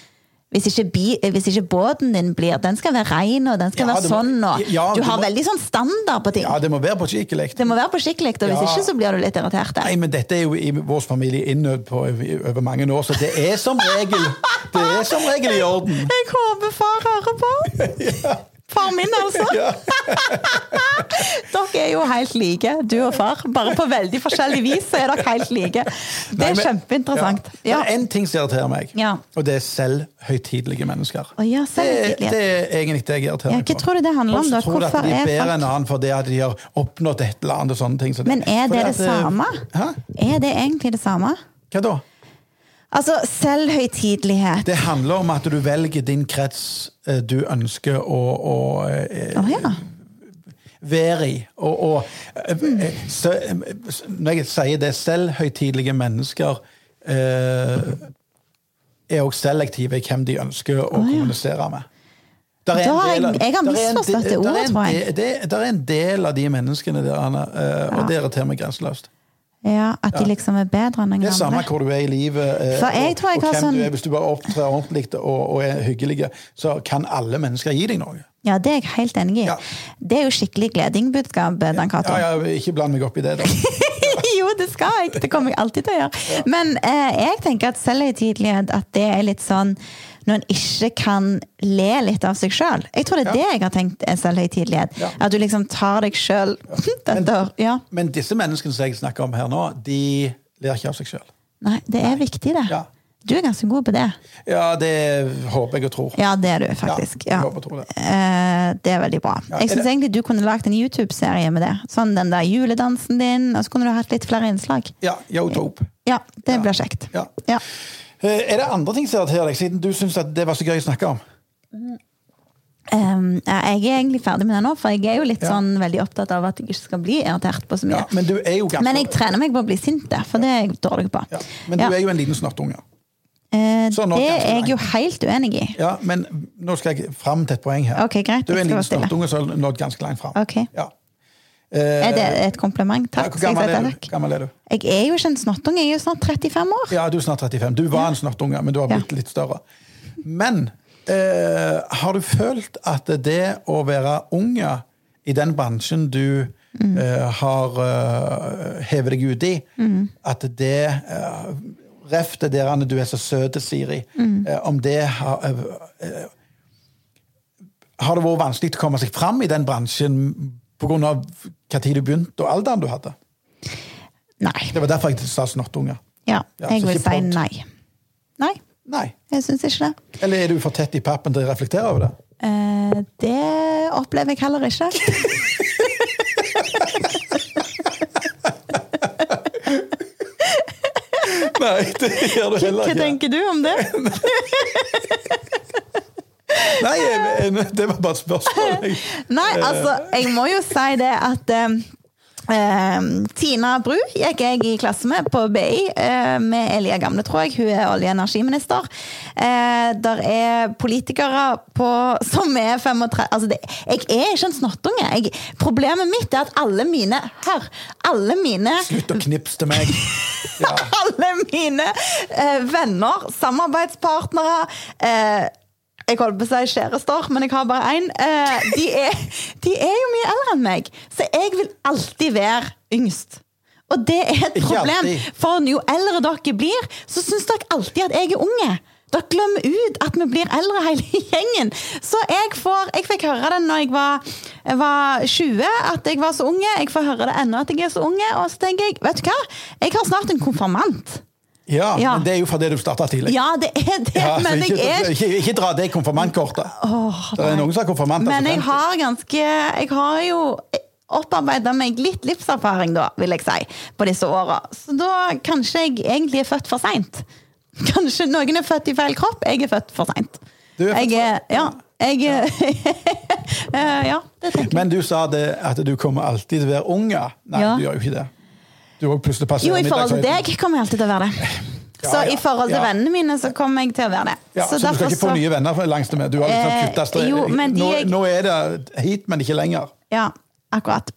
[SPEAKER 2] Hvis ikke, bi, eh, hvis ikke båten din blir Den skal være rein, og den skal
[SPEAKER 1] Ja,
[SPEAKER 2] være
[SPEAKER 1] det må-
[SPEAKER 2] sånn, og
[SPEAKER 1] ja,
[SPEAKER 2] Du
[SPEAKER 1] det
[SPEAKER 2] har
[SPEAKER 1] må-
[SPEAKER 2] veldig sånn standard på ting.
[SPEAKER 1] Ja, det må være på skikkelig.
[SPEAKER 2] Det må være på skikkelig, og hvis
[SPEAKER 1] Ja.
[SPEAKER 2] ikke så blir du litt irritert.
[SPEAKER 1] Nei, men dette er jo i vår familie innøvd på i- over mange år, så det er som regel Det er som regel i orden.
[SPEAKER 2] Jeg håper far hører
[SPEAKER 1] *laughs*
[SPEAKER 2] på! Far min, altså.
[SPEAKER 1] Ja.
[SPEAKER 2] *laughs* Dere er jo helt like, du og far. Bare på veldig forskjellig vis så er dere helt like. Det
[SPEAKER 1] Nei,
[SPEAKER 2] er
[SPEAKER 1] men-
[SPEAKER 2] kjempeinteressant.
[SPEAKER 1] Ja.
[SPEAKER 2] Ja.
[SPEAKER 1] Det er én ting som irriterer meg,
[SPEAKER 2] Ja.
[SPEAKER 1] og det er selvhøytidelige mennesker.
[SPEAKER 2] Å ja,
[SPEAKER 1] det,
[SPEAKER 2] selvhøytidelighet.
[SPEAKER 1] det er egentlig det jeg irriterer
[SPEAKER 2] Ja,
[SPEAKER 1] meg
[SPEAKER 2] hva tror du det handler om,
[SPEAKER 1] Folk som
[SPEAKER 2] da?
[SPEAKER 1] tror at
[SPEAKER 2] Hvorfor
[SPEAKER 1] de
[SPEAKER 2] er
[SPEAKER 1] er bedre
[SPEAKER 2] folk-
[SPEAKER 1] enn annen fordi at de har oppnådd et eller annet og sånne ting. som
[SPEAKER 2] Men er
[SPEAKER 1] Fordi
[SPEAKER 2] det det
[SPEAKER 1] at, eh,
[SPEAKER 2] samme?
[SPEAKER 1] Hæ?
[SPEAKER 2] Er det egentlig det samme?
[SPEAKER 1] Hva da?
[SPEAKER 2] Altså, selvhøytidelighet.
[SPEAKER 1] Det handler om at du velger din krets eh, du ønsker å, å eh,
[SPEAKER 2] Å ja.
[SPEAKER 1] være i. Og, og eh, eh, så, eh, s- når jeg sier det, selvhøytidelige mennesker eh, er også selektive i hvem de ønsker å kommunisere med. Der er
[SPEAKER 2] Da
[SPEAKER 1] en
[SPEAKER 2] har jeg-
[SPEAKER 1] del av-
[SPEAKER 2] jeg har
[SPEAKER 1] der er en
[SPEAKER 2] misforstått
[SPEAKER 1] de-
[SPEAKER 2] det
[SPEAKER 1] der er
[SPEAKER 2] ordet,
[SPEAKER 1] en
[SPEAKER 2] tror jeg.
[SPEAKER 1] de- Det, der er en del av de menneskene der, Anna, eh, og
[SPEAKER 2] Ja.
[SPEAKER 1] det irriterer meg grenseløst.
[SPEAKER 2] ja, At de liksom er bedre enn
[SPEAKER 1] Det
[SPEAKER 2] noen
[SPEAKER 1] er samme
[SPEAKER 2] andre.
[SPEAKER 1] hvor du er i livet, eh,
[SPEAKER 2] For jeg
[SPEAKER 1] og,
[SPEAKER 2] tror jeg
[SPEAKER 1] og
[SPEAKER 2] har
[SPEAKER 1] hvem du
[SPEAKER 2] sånn-
[SPEAKER 1] er. Hvis du bare opptrer ordentlig og, og er hyggelig, så kan alle mennesker gi deg noe.
[SPEAKER 2] Ja, Det er jeg helt enig i.
[SPEAKER 1] Ja.
[SPEAKER 2] Det er jo skikkelig gledingbudskap, eh, Dan Cato.
[SPEAKER 1] Ja, ja, ikke bland meg opp i det, da.
[SPEAKER 2] *laughs* jo, det skal jeg. Det kommer jeg alltid til å gjøre. Men eh, jeg tenker at selvhøytidelighet at det er litt sånn når en ikke kan le litt av seg sjøl. Jeg tror det er
[SPEAKER 1] Ja.
[SPEAKER 2] det jeg har tenkt eh, er selvhøytidelighet.
[SPEAKER 1] Ja.
[SPEAKER 2] At du liksom tar deg sjøl *laughs* ja.
[SPEAKER 1] Men disse menneskene som jeg snakker om her nå, de ler ikke av seg sjøl.
[SPEAKER 2] Nei, det er viktig, det.
[SPEAKER 1] Ja.
[SPEAKER 2] Du er ganske god på det.
[SPEAKER 1] Ja, det håper jeg og tror.
[SPEAKER 2] Ja, det er du faktisk.
[SPEAKER 1] Ja,
[SPEAKER 2] Ja.
[SPEAKER 1] jeg håper og tror det.
[SPEAKER 2] Eh, det er veldig bra.
[SPEAKER 1] Ja,
[SPEAKER 2] Jeg
[SPEAKER 1] er
[SPEAKER 2] syns
[SPEAKER 1] det-
[SPEAKER 2] egentlig du kunne lagd en YouTube-serie med det. Sånn den der juledansen din, og så kunne du hatt litt flere innslag.
[SPEAKER 1] Ja, yo, dope.
[SPEAKER 2] Ja, det blir kjekt.
[SPEAKER 1] Ja.
[SPEAKER 2] Ja.
[SPEAKER 1] Eh, Er det andre ting som irriterer deg, siden du syns det var så gøy å snakke om?
[SPEAKER 2] Ehm, ja, jeg er egentlig ferdig med det nå, for jeg er jo litt
[SPEAKER 1] Ja.
[SPEAKER 2] sånn veldig opptatt av at jeg ikke skal bli irritert på så mye.
[SPEAKER 1] Ja, men du er jo ganske
[SPEAKER 2] Men jeg trener meg på å bli sint, det, for det er jeg dårlig på.
[SPEAKER 1] ja, Men du
[SPEAKER 2] Ja.
[SPEAKER 1] er jo en liten snottunge.
[SPEAKER 2] Eh,
[SPEAKER 1] Så nå
[SPEAKER 2] det
[SPEAKER 1] ganske
[SPEAKER 2] er jeg
[SPEAKER 1] langt.
[SPEAKER 2] jo helt uenig i.
[SPEAKER 1] Ja, men nå skal jeg fram til et poeng her.
[SPEAKER 2] Ok, greit,
[SPEAKER 1] Du er
[SPEAKER 2] jeg
[SPEAKER 1] en
[SPEAKER 2] skal
[SPEAKER 1] liten
[SPEAKER 2] være stille.
[SPEAKER 1] snottunge som har nådd ganske langt fram.
[SPEAKER 2] Ok.
[SPEAKER 1] Ja. Eh,
[SPEAKER 2] Er det et kompliment?
[SPEAKER 1] Ja,
[SPEAKER 2] Takk.
[SPEAKER 1] hvor
[SPEAKER 2] skal jeg
[SPEAKER 1] gammel
[SPEAKER 2] si
[SPEAKER 1] er, du?
[SPEAKER 2] takk?
[SPEAKER 1] gammel er du?
[SPEAKER 2] Jeg er jo ikke en snottunge, jeg er jo snart 35 år.
[SPEAKER 1] Ja, du er snart 35. Du var en snottunge, men du har blitt
[SPEAKER 2] Ja.
[SPEAKER 1] litt større. Men eh, har du følt at det å være unge i den bransjen du eh, har eh, hevet deg ut i, at det eh, Ref det der Anne, du er så søt, Siri. Eh, om det har eh, eh, Har det vært vanskelig å komme seg fram i den bransjen pga. hva tid du begynte, og alderen du hadde?
[SPEAKER 2] Nei.
[SPEAKER 1] Det var derfor jeg sa snottunge.
[SPEAKER 2] Ja,
[SPEAKER 1] Ja,
[SPEAKER 2] jeg
[SPEAKER 1] så
[SPEAKER 2] vil
[SPEAKER 1] ikke
[SPEAKER 2] si
[SPEAKER 1] pod.
[SPEAKER 2] nei. Nei.
[SPEAKER 1] Nei.
[SPEAKER 2] Jeg syns ikke det.
[SPEAKER 1] Eller er du for tett i pappen til å reflektere over det?
[SPEAKER 2] Eh, det opplever jeg heller ikke.
[SPEAKER 1] *laughs* Nei, det gjør du
[SPEAKER 2] Hva
[SPEAKER 1] heller ikke.
[SPEAKER 2] tenker du om det?
[SPEAKER 1] Nei, jeg- jeg- det var bare et spørsmål.
[SPEAKER 2] *laughs*
[SPEAKER 1] jeg.
[SPEAKER 2] Nei, altså, jeg må jo si det at eh, eh, Tina Bru gikk jeg i klasse med på BI, eh, med Elia Gamle, tror jeg. Hun er olje- og energiminister. Eh, der er politikere på, som er 35 altså det, Jeg er ikke en snottunge. Jeg, problemet mitt er at alle mine Hør! Alle mine
[SPEAKER 1] Slutt å knipse til
[SPEAKER 2] *laughs*
[SPEAKER 1] meg. Ja.
[SPEAKER 2] alle mine eh, venner, samarbeidspartnere eh, Jeg holdt på å si kjærester, men jeg har bare én. Eh, de, er, de er jo mye eldre enn meg, så jeg vil alltid være yngst. Og det er et
[SPEAKER 1] Ikke
[SPEAKER 2] problem,
[SPEAKER 1] alltid.
[SPEAKER 2] for jo eldre dere blir, så syns dere alltid at jeg er unge. Dere glemmer ut at vi blir eldre hele *laughs* gjengen. Så jeg, får, jeg fikk høre det når jeg var, jeg var 20, at jeg var så unge. Jeg får høre det ennå at jeg er så unge. Og så tenker jeg, vet du hva, jeg har snart en konfirmant.
[SPEAKER 1] Ja,
[SPEAKER 2] Ja.
[SPEAKER 1] men det er jo fordi du starta tidlig.
[SPEAKER 2] Ja, det er det,
[SPEAKER 1] Ja, så
[SPEAKER 2] men
[SPEAKER 1] ikke,
[SPEAKER 2] jeg er
[SPEAKER 1] ikke, ikke dra det konfirmantkortet. det er noen som har konfirmant.
[SPEAKER 2] Men
[SPEAKER 1] altså,
[SPEAKER 2] jeg har ganske Jeg har jo opparbeida meg litt livserfaring, da, vil jeg si, på disse åra. Så da kanskje jeg egentlig er født for seint. *laughs* Kanskje noen er født i feil kropp. Jeg er født for seint.
[SPEAKER 1] Du er født
[SPEAKER 2] Jeg er Ja. Jeg er *laughs* Eh, Ja, det tenker jeg.
[SPEAKER 1] Men du sa det at du kommer alltid til å være unge. Nei,
[SPEAKER 2] Ja.
[SPEAKER 1] du gjør jo ikke det. Du også plutselig passerer
[SPEAKER 2] Jo, i forhold til
[SPEAKER 1] middagshøyden.
[SPEAKER 2] deg kommer jeg alltid til å være det.
[SPEAKER 1] Ja,
[SPEAKER 2] Så
[SPEAKER 1] ja,
[SPEAKER 2] i forhold til
[SPEAKER 1] ja.
[SPEAKER 2] vennene mine så kommer jeg til å være det.
[SPEAKER 1] Ja, så, du skal
[SPEAKER 2] derfor
[SPEAKER 1] ikke få nye venner for- langs det med. Du har liksom
[SPEAKER 2] Eh,
[SPEAKER 1] kuttet strek.
[SPEAKER 2] jo, men de
[SPEAKER 1] nå,
[SPEAKER 2] jeg-
[SPEAKER 1] nå er det hit, men ikke lenger.
[SPEAKER 2] Ja, akkurat.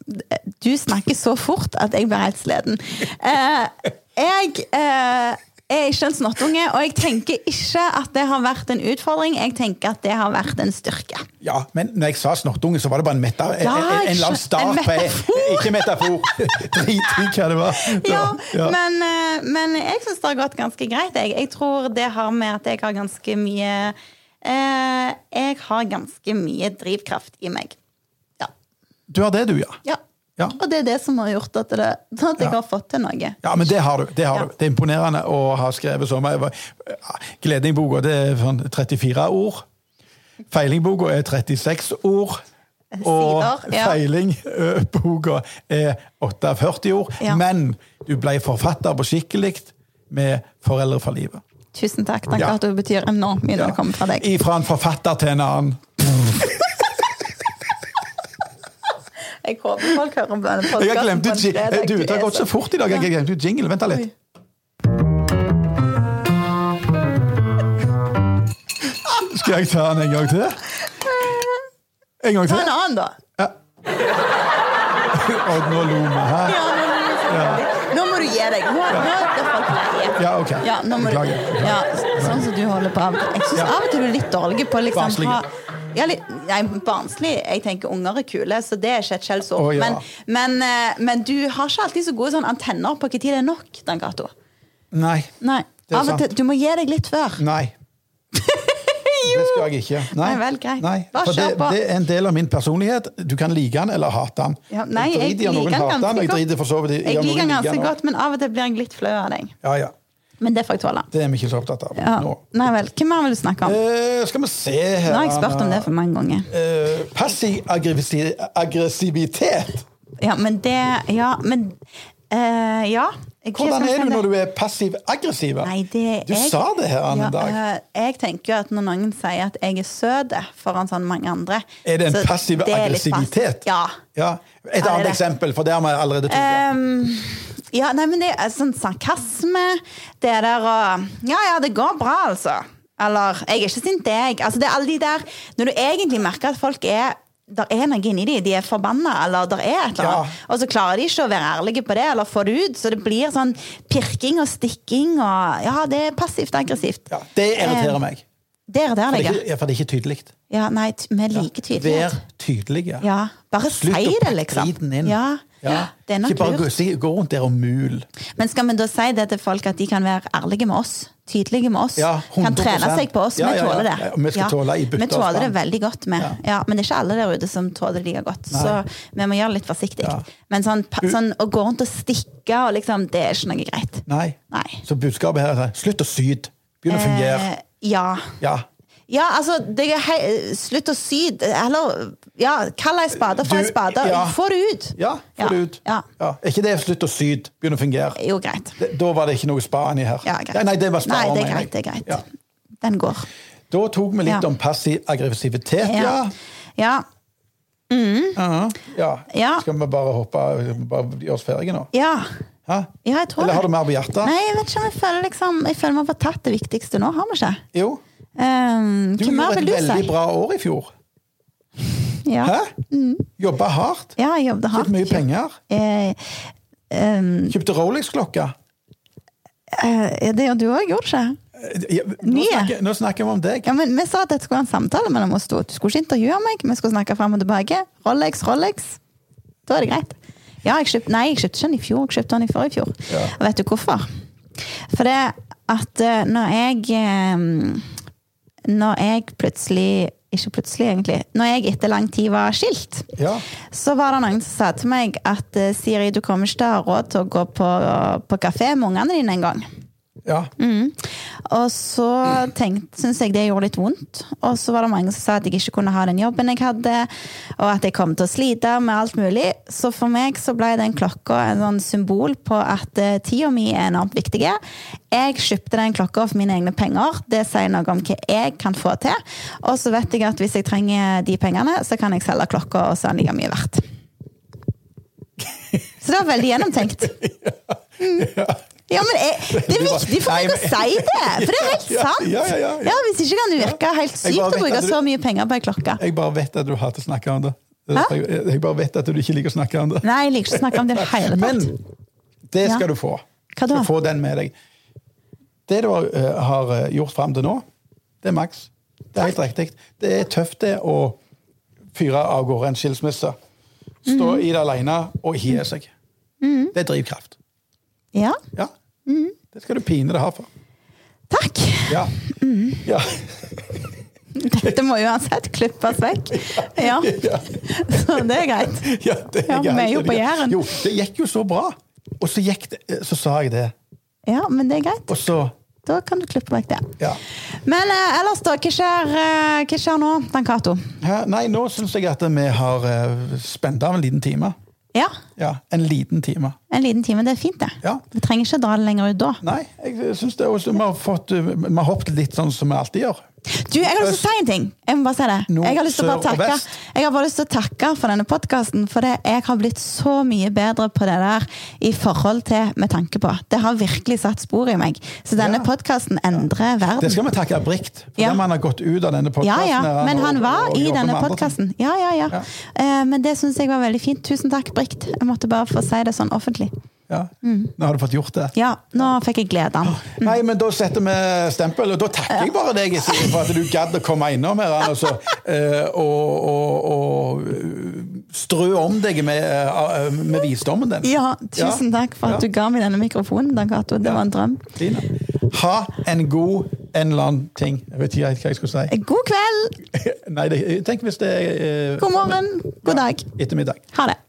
[SPEAKER 2] Du snakker så fort at jeg blir helt sliten. Eh, jeg eh, er ikke en snottunge, og jeg tenker ikke at det har vært en utfordring. Jeg tenker at det har vært en styrke.
[SPEAKER 1] Ja, men når jeg sa snortunge, så var det bare en meta... En,
[SPEAKER 2] Ja,
[SPEAKER 1] en, en, eller annen
[SPEAKER 2] en
[SPEAKER 1] start på
[SPEAKER 2] metafor.
[SPEAKER 1] *laughs* Ikke
[SPEAKER 2] *laughs*
[SPEAKER 1] metafor. Drit i hva det var. Det
[SPEAKER 2] Ja,
[SPEAKER 1] var- ja.
[SPEAKER 2] Men, eh, men jeg syns det har gått ganske greit. Jeg, jeg tror det har med at jeg har ganske mye eh, Jeg har ganske mye drivkraft i meg. Ja.
[SPEAKER 1] Du har det, du, ja.
[SPEAKER 2] ja.
[SPEAKER 1] Ja.
[SPEAKER 2] Og det er det som har gjort at, det, at jeg
[SPEAKER 1] Ja.
[SPEAKER 2] har fått til noe.
[SPEAKER 1] Ja, men det har du. Det, har
[SPEAKER 2] Ja.
[SPEAKER 1] du. det er imponerende å ha skrevet så mye. Gledingboka det er sånn 34 ord. Feilingboka er 36 ord. Og
[SPEAKER 2] Sider, ja.
[SPEAKER 1] feilingboka er 48 ord.
[SPEAKER 2] Ja.
[SPEAKER 1] Men du ble forfatter på skikkelig med Foreldre for livet.
[SPEAKER 2] Tusen takk. Takk
[SPEAKER 1] Ja.
[SPEAKER 2] at du betyr enormt mye når det kommer fra deg.
[SPEAKER 1] Ifra en forfatter til en annen.
[SPEAKER 2] Jeg håper folk hører på denne
[SPEAKER 1] Jeg har
[SPEAKER 2] podcasten
[SPEAKER 1] glemt
[SPEAKER 2] på
[SPEAKER 1] ut
[SPEAKER 2] en
[SPEAKER 1] ji-
[SPEAKER 2] fredag.
[SPEAKER 1] Du, det
[SPEAKER 2] er
[SPEAKER 1] har gått så fort i dag. Jeg har glemt ut jingle. Vent da litt.
[SPEAKER 2] Oi.
[SPEAKER 1] Skal jeg ta den en gang til? En gang
[SPEAKER 2] Ta
[SPEAKER 1] til?
[SPEAKER 2] en annen, da.
[SPEAKER 1] Ja. Og nå lo vi her.
[SPEAKER 2] Ja, nå, må du- nå må du gi deg. Nå, nå er folk leie.
[SPEAKER 1] Ja, ok.
[SPEAKER 2] Ja, nå må du,
[SPEAKER 1] Beklager, beklager.
[SPEAKER 2] ja, sånn som du holder på av og til. Jeg syns
[SPEAKER 1] Ja.
[SPEAKER 2] av og til du er litt dårlig på å liksom
[SPEAKER 1] Barnslig.
[SPEAKER 2] ha ja, litt, nei, barnslig. Jeg tenker unger er kule, så det er ikke et skjellsord.
[SPEAKER 1] Å, ja.
[SPEAKER 2] men, men, eh, men du har ikke alltid så gode sånn antenner på når det er nok, Dan Cato.
[SPEAKER 1] Nei.
[SPEAKER 2] Nei.
[SPEAKER 1] Det er
[SPEAKER 2] Av og til,
[SPEAKER 1] sant.
[SPEAKER 2] du må gi deg litt før. *laughs*
[SPEAKER 1] Nei. Det skal jeg ikke. Nei,
[SPEAKER 2] Nei, vel, greit.
[SPEAKER 1] Nei,
[SPEAKER 2] Bare
[SPEAKER 1] for det,
[SPEAKER 2] kjør på.
[SPEAKER 1] det er en del av min personlighet. Du kan like den eller hate den.
[SPEAKER 2] Ja, nei, jeg
[SPEAKER 1] driter i om noen
[SPEAKER 2] liker den
[SPEAKER 1] hater den, og
[SPEAKER 2] ganske
[SPEAKER 1] jeg
[SPEAKER 2] godt.
[SPEAKER 1] driter for så vidt i- i
[SPEAKER 2] Jeg
[SPEAKER 1] om
[SPEAKER 2] liker
[SPEAKER 1] noen
[SPEAKER 2] den
[SPEAKER 1] liker
[SPEAKER 2] ganske
[SPEAKER 1] den. også.
[SPEAKER 2] godt, men av og til blir jeg litt flau av deg.
[SPEAKER 1] Ja, ja.
[SPEAKER 2] Men det får jeg tåle.
[SPEAKER 1] Det er vi ikke så opptatt av
[SPEAKER 2] Ja.
[SPEAKER 1] nå.
[SPEAKER 2] Nei vel. Hvem mer vil du snakke om?
[SPEAKER 1] Eh, skal vi se her
[SPEAKER 2] Nå har jeg spurt om det for mange ganger.
[SPEAKER 1] Eh, Passiv aggresi- aggressivitet.
[SPEAKER 2] Ja, men det Ja, men eh, Ja. Jeg-
[SPEAKER 1] Hvordan
[SPEAKER 2] jeg skal
[SPEAKER 1] er du
[SPEAKER 2] si
[SPEAKER 1] når
[SPEAKER 2] det.
[SPEAKER 1] du er passiv aggressiv?
[SPEAKER 2] Nei, det
[SPEAKER 1] Du
[SPEAKER 2] jeg-
[SPEAKER 1] sa det her en
[SPEAKER 2] ja,
[SPEAKER 1] dag.
[SPEAKER 2] eh, jeg tenker jo at når noen sier at jeg er søt foran sånn mange andre
[SPEAKER 1] Er det en
[SPEAKER 2] så
[SPEAKER 1] passiv
[SPEAKER 2] det er litt
[SPEAKER 1] aggressivitet?
[SPEAKER 2] pass- Ja.
[SPEAKER 1] Ja. Et
[SPEAKER 2] Ja, det er
[SPEAKER 1] annet
[SPEAKER 2] det.
[SPEAKER 1] eksempel, for det har vi allerede tatt.
[SPEAKER 2] Ehm,
[SPEAKER 1] *laughs*
[SPEAKER 2] ja, nei, men det er sånn sarkasme. Det der å Ja, ja, det går bra, altså. Eller Jeg er ikke sint, jeg. Altså, det er alle de der Når du egentlig merker at folk er der er noe inni dem. De er forbanna, eller der er et eller annet.
[SPEAKER 1] Ja.
[SPEAKER 2] Og så klarer de ikke å være ærlige på det, eller få det ut. Så det blir sånn pirking og stikking og Ja, det er passivt aggressivt.
[SPEAKER 1] ja. Det irriterer
[SPEAKER 2] Ehm,
[SPEAKER 1] meg.
[SPEAKER 2] Der,
[SPEAKER 1] For
[SPEAKER 2] der,
[SPEAKER 1] det er
[SPEAKER 2] jeg.
[SPEAKER 1] ikke, ja, for det er ikke tydelig.
[SPEAKER 2] Ja, nei, t- vi liker
[SPEAKER 1] Vær
[SPEAKER 2] tydelighet.
[SPEAKER 1] tydelige.
[SPEAKER 2] Ja, bare
[SPEAKER 1] Slutt å
[SPEAKER 2] si det,
[SPEAKER 1] pakke
[SPEAKER 2] liksom.
[SPEAKER 1] driten inn.
[SPEAKER 2] Ja,
[SPEAKER 1] Ja.
[SPEAKER 2] Det er nok
[SPEAKER 1] ikke bare
[SPEAKER 2] lurt.
[SPEAKER 1] gå, si- gå rundt der og mul.
[SPEAKER 2] Men skal vi da si det til folk at de kan være ærlige med oss? Tydelige med oss?
[SPEAKER 1] Ja, 100%.
[SPEAKER 2] kan trene seg på oss?
[SPEAKER 1] Ja, ja,
[SPEAKER 2] vi
[SPEAKER 1] ja.
[SPEAKER 2] tåler det.
[SPEAKER 1] Ja, og vi skal tåle i bytte
[SPEAKER 2] vi
[SPEAKER 1] og
[SPEAKER 2] tåler det
[SPEAKER 1] spann.
[SPEAKER 2] veldig godt. med.
[SPEAKER 1] Ja.
[SPEAKER 2] Ja. Men det er ikke alle der ute som tåler det like godt. Så vi må gjøre det litt forsiktig.
[SPEAKER 1] Ja.
[SPEAKER 2] Men sånn, pa- sånn å gå rundt og stikke og liksom, det er ikke noe greit.
[SPEAKER 1] Nei.
[SPEAKER 2] Nei.
[SPEAKER 1] Så budskapet her er slutt å syte. Begynner å fungere.
[SPEAKER 2] Eh, ja.
[SPEAKER 1] Ja.
[SPEAKER 2] Ja, altså, det er hei, slutt å sy. Eller ja, kall ei spade for
[SPEAKER 1] Du-
[SPEAKER 2] ei spade.
[SPEAKER 1] ja.
[SPEAKER 2] Få det ut.
[SPEAKER 1] ja
[SPEAKER 2] Ja,
[SPEAKER 1] Få det ut.
[SPEAKER 2] ja.
[SPEAKER 1] Er ikke det slutt å syd? Begynner å fungere.
[SPEAKER 2] Jo, greit.
[SPEAKER 1] Det, da var det ikke noe spa inni her.
[SPEAKER 2] Ja, greit.
[SPEAKER 1] nei, det var spa.
[SPEAKER 2] Nei, det er
[SPEAKER 1] mener jeg.
[SPEAKER 2] greit. Det er greit.
[SPEAKER 1] Ja.
[SPEAKER 2] Den går.
[SPEAKER 1] Da tok vi litt
[SPEAKER 2] Ja.
[SPEAKER 1] om passiv aggressivitet, ja.
[SPEAKER 2] Ja. Ja.
[SPEAKER 1] Aha. Ja.
[SPEAKER 2] Ja.
[SPEAKER 1] Skal vi bare hoppe bare gjøre oss ferdige nå?
[SPEAKER 2] ja.
[SPEAKER 1] Hæ?
[SPEAKER 2] Ja, jeg tror
[SPEAKER 1] Eller har du
[SPEAKER 2] det.
[SPEAKER 1] mer på hjertet?
[SPEAKER 2] Nei, jeg vet ikke om jeg føler liksom Jeg føler vi har fått tatt det viktigste nå, har vi ikke?
[SPEAKER 1] Jo.
[SPEAKER 2] Um,
[SPEAKER 1] Du
[SPEAKER 2] hva mer
[SPEAKER 1] gjorde
[SPEAKER 2] vil
[SPEAKER 1] et
[SPEAKER 2] du
[SPEAKER 1] veldig
[SPEAKER 2] si?
[SPEAKER 1] bra år i fjor.
[SPEAKER 2] Ja.
[SPEAKER 1] Hæ? Jobba hardt.
[SPEAKER 2] Mm. ja, jeg jobbet hardt.
[SPEAKER 1] Fått mye penger.
[SPEAKER 2] Eh, um,
[SPEAKER 1] Kjøpte Rolex-klokka.
[SPEAKER 2] eh, det gjør du òg, gjorde du ikke?
[SPEAKER 1] Ja, Nå,
[SPEAKER 2] Nye.
[SPEAKER 1] snakker- nå snakker vi om deg.
[SPEAKER 2] Ja, men Vi sa at dette skulle være en samtale mellom oss to. Du skulle ikke intervjue meg. Vi skulle snakke frem og tilbake. Rolex, Rolex. Da er det greit. Ja, jeg kjøpt, nei, jeg kjøpte ikke den i fjor. Jeg kjøpte den i forrige fjor.
[SPEAKER 1] Ja.
[SPEAKER 2] Og vet du hvorfor? For det at eh, når jeg eh, Når jeg plutselig Ikke plutselig, egentlig. Når jeg etter lang tid var skilt,
[SPEAKER 1] Ja.
[SPEAKER 2] så var det noen som sa til meg at eh, Siri, du kommer ikke til å ha råd til å gå på, på kafé med ungene dine en gang.
[SPEAKER 1] ja.
[SPEAKER 2] Mm. Og så tenkte, syntes jeg det gjorde litt vondt. Og så var det mange som sa at jeg ikke kunne ha den jobben jeg hadde, og at jeg kom til å slite med alt mulig. Så for meg så ble den klokka en sånn symbol på at eh, tida mi er enormt viktig. Jeg kjøpte den klokka for mine egne penger. Det sier noe om hva jeg kan få til. Og så vet jeg at hvis jeg trenger de pengene, så kan jeg selge klokka, og så er den like mye verdt. Så det var veldig
[SPEAKER 1] *laughs*
[SPEAKER 2] gjennomtenkt. Mm. Ja, men jeg, Det er viktig for meg å si det! For det er helt
[SPEAKER 1] *laughs* Ja,
[SPEAKER 2] sant!
[SPEAKER 1] ja, ja, ja, ja.
[SPEAKER 2] Ja, Hvis ikke kan det virke helt sykt
[SPEAKER 1] bare
[SPEAKER 2] å
[SPEAKER 1] vet
[SPEAKER 2] bruke
[SPEAKER 1] at du-
[SPEAKER 2] så mye penger på ei klokke.
[SPEAKER 1] Jeg bare vet at du hater å snakke om det.
[SPEAKER 2] Hæ?
[SPEAKER 1] Jeg, jeg bare vet at du ikke liker å snakke om det.
[SPEAKER 2] Nei, jeg liker ikke å snakke om det i det hele
[SPEAKER 1] Men
[SPEAKER 2] tatt.
[SPEAKER 1] det
[SPEAKER 2] Ja.
[SPEAKER 1] skal du få.
[SPEAKER 2] Hva da?
[SPEAKER 1] Du Få den med deg. Det du har, eh, har eh, gjort fram til nå, det er maks. Det er helt riktig. Det er tøft det å fyre av gårde en skilsmisse. Stå
[SPEAKER 2] Mhm.
[SPEAKER 1] i det alene og hie seg. Det er drivkraft.
[SPEAKER 2] Ja,
[SPEAKER 1] Ja.
[SPEAKER 2] Mhm.
[SPEAKER 1] Det skal du pine deg hardt for.
[SPEAKER 2] takk. *laughs*
[SPEAKER 1] Ja.
[SPEAKER 2] Mhm.
[SPEAKER 1] ja. *laughs*
[SPEAKER 2] Dette må uansett klippes vekk. Ja,
[SPEAKER 1] *laughs* ja.
[SPEAKER 2] så det er greit.
[SPEAKER 1] Ja, det
[SPEAKER 2] Ja, vi er
[SPEAKER 1] helt
[SPEAKER 2] jo på
[SPEAKER 1] enig.
[SPEAKER 2] Jæren.
[SPEAKER 1] Jo, det gikk jo så bra. Og så, gikk det, eh, så sa jeg det.
[SPEAKER 2] Ja, men det er greit.
[SPEAKER 1] Og så
[SPEAKER 2] Da kan du klippe vekk det.
[SPEAKER 1] Ja.
[SPEAKER 2] Men eh, ellers, da? Hva skjer, eh, hva skjer nå, Dan Cato?
[SPEAKER 1] Hæ? Nei, nå syns jeg at vi har eh, spent av en liten time.
[SPEAKER 2] Ja,
[SPEAKER 1] Ja, en liten time.
[SPEAKER 2] en liten time. Det er fint, det.
[SPEAKER 1] Ja.
[SPEAKER 2] Vi trenger ikke dra det lenger ut da.
[SPEAKER 1] Nei, jeg syns det er også Vi har, fått, eh, vi har hoppet litt sånn som vi alltid gjør.
[SPEAKER 2] Du, jeg har lyst til å si en ting. Jeg må bare si det.
[SPEAKER 1] Nord,
[SPEAKER 2] jeg har lyst til å
[SPEAKER 1] sør
[SPEAKER 2] bare
[SPEAKER 1] og
[SPEAKER 2] takke
[SPEAKER 1] vest.
[SPEAKER 2] Jeg har bare lyst til å takke for denne podkasten, for det, jeg har blitt så mye bedre på det der i forhold til med tanke på. Det har virkelig satt spor i meg. Så denne
[SPEAKER 1] Ja.
[SPEAKER 2] podkasten endrer
[SPEAKER 1] Det
[SPEAKER 2] verden.
[SPEAKER 1] skal vi takke Brikt for.
[SPEAKER 2] Ja.
[SPEAKER 1] Det man har gått ut av denne
[SPEAKER 2] Ja,
[SPEAKER 1] podkasten.
[SPEAKER 2] ja. Men han var i denne podkasten. Ja, ja, ja.
[SPEAKER 1] Ja.
[SPEAKER 2] Eh, men det syns jeg var veldig fint. Tusen takk, Brikt. Jeg måtte bare få si det sånn offentlig.
[SPEAKER 1] Ja. Nå har du fått gjort det.
[SPEAKER 2] Mm. Ja, Mm. nå fikk jeg gleden.
[SPEAKER 1] Nei, men da setter vi stempel, og da takker jeg bare deg Iselin, for at du gadd å komme innom her Anne, altså, eh, og, og, og eh, strø om deg med, eh, med visdommen din.
[SPEAKER 2] Ja, tusen takk for at
[SPEAKER 1] Ja.
[SPEAKER 2] du ga meg denne mikrofonen, Dan Cato. Det var en drøm.
[SPEAKER 1] Fine. Ha en god en eller annen ting. Jeg vet ikke helt hva jeg skulle si.
[SPEAKER 2] God kveld,
[SPEAKER 1] *laughs* Nei, det, tenk hvis det er eh,
[SPEAKER 2] god morgen, god dag.
[SPEAKER 1] ettermiddag.
[SPEAKER 2] Ha det.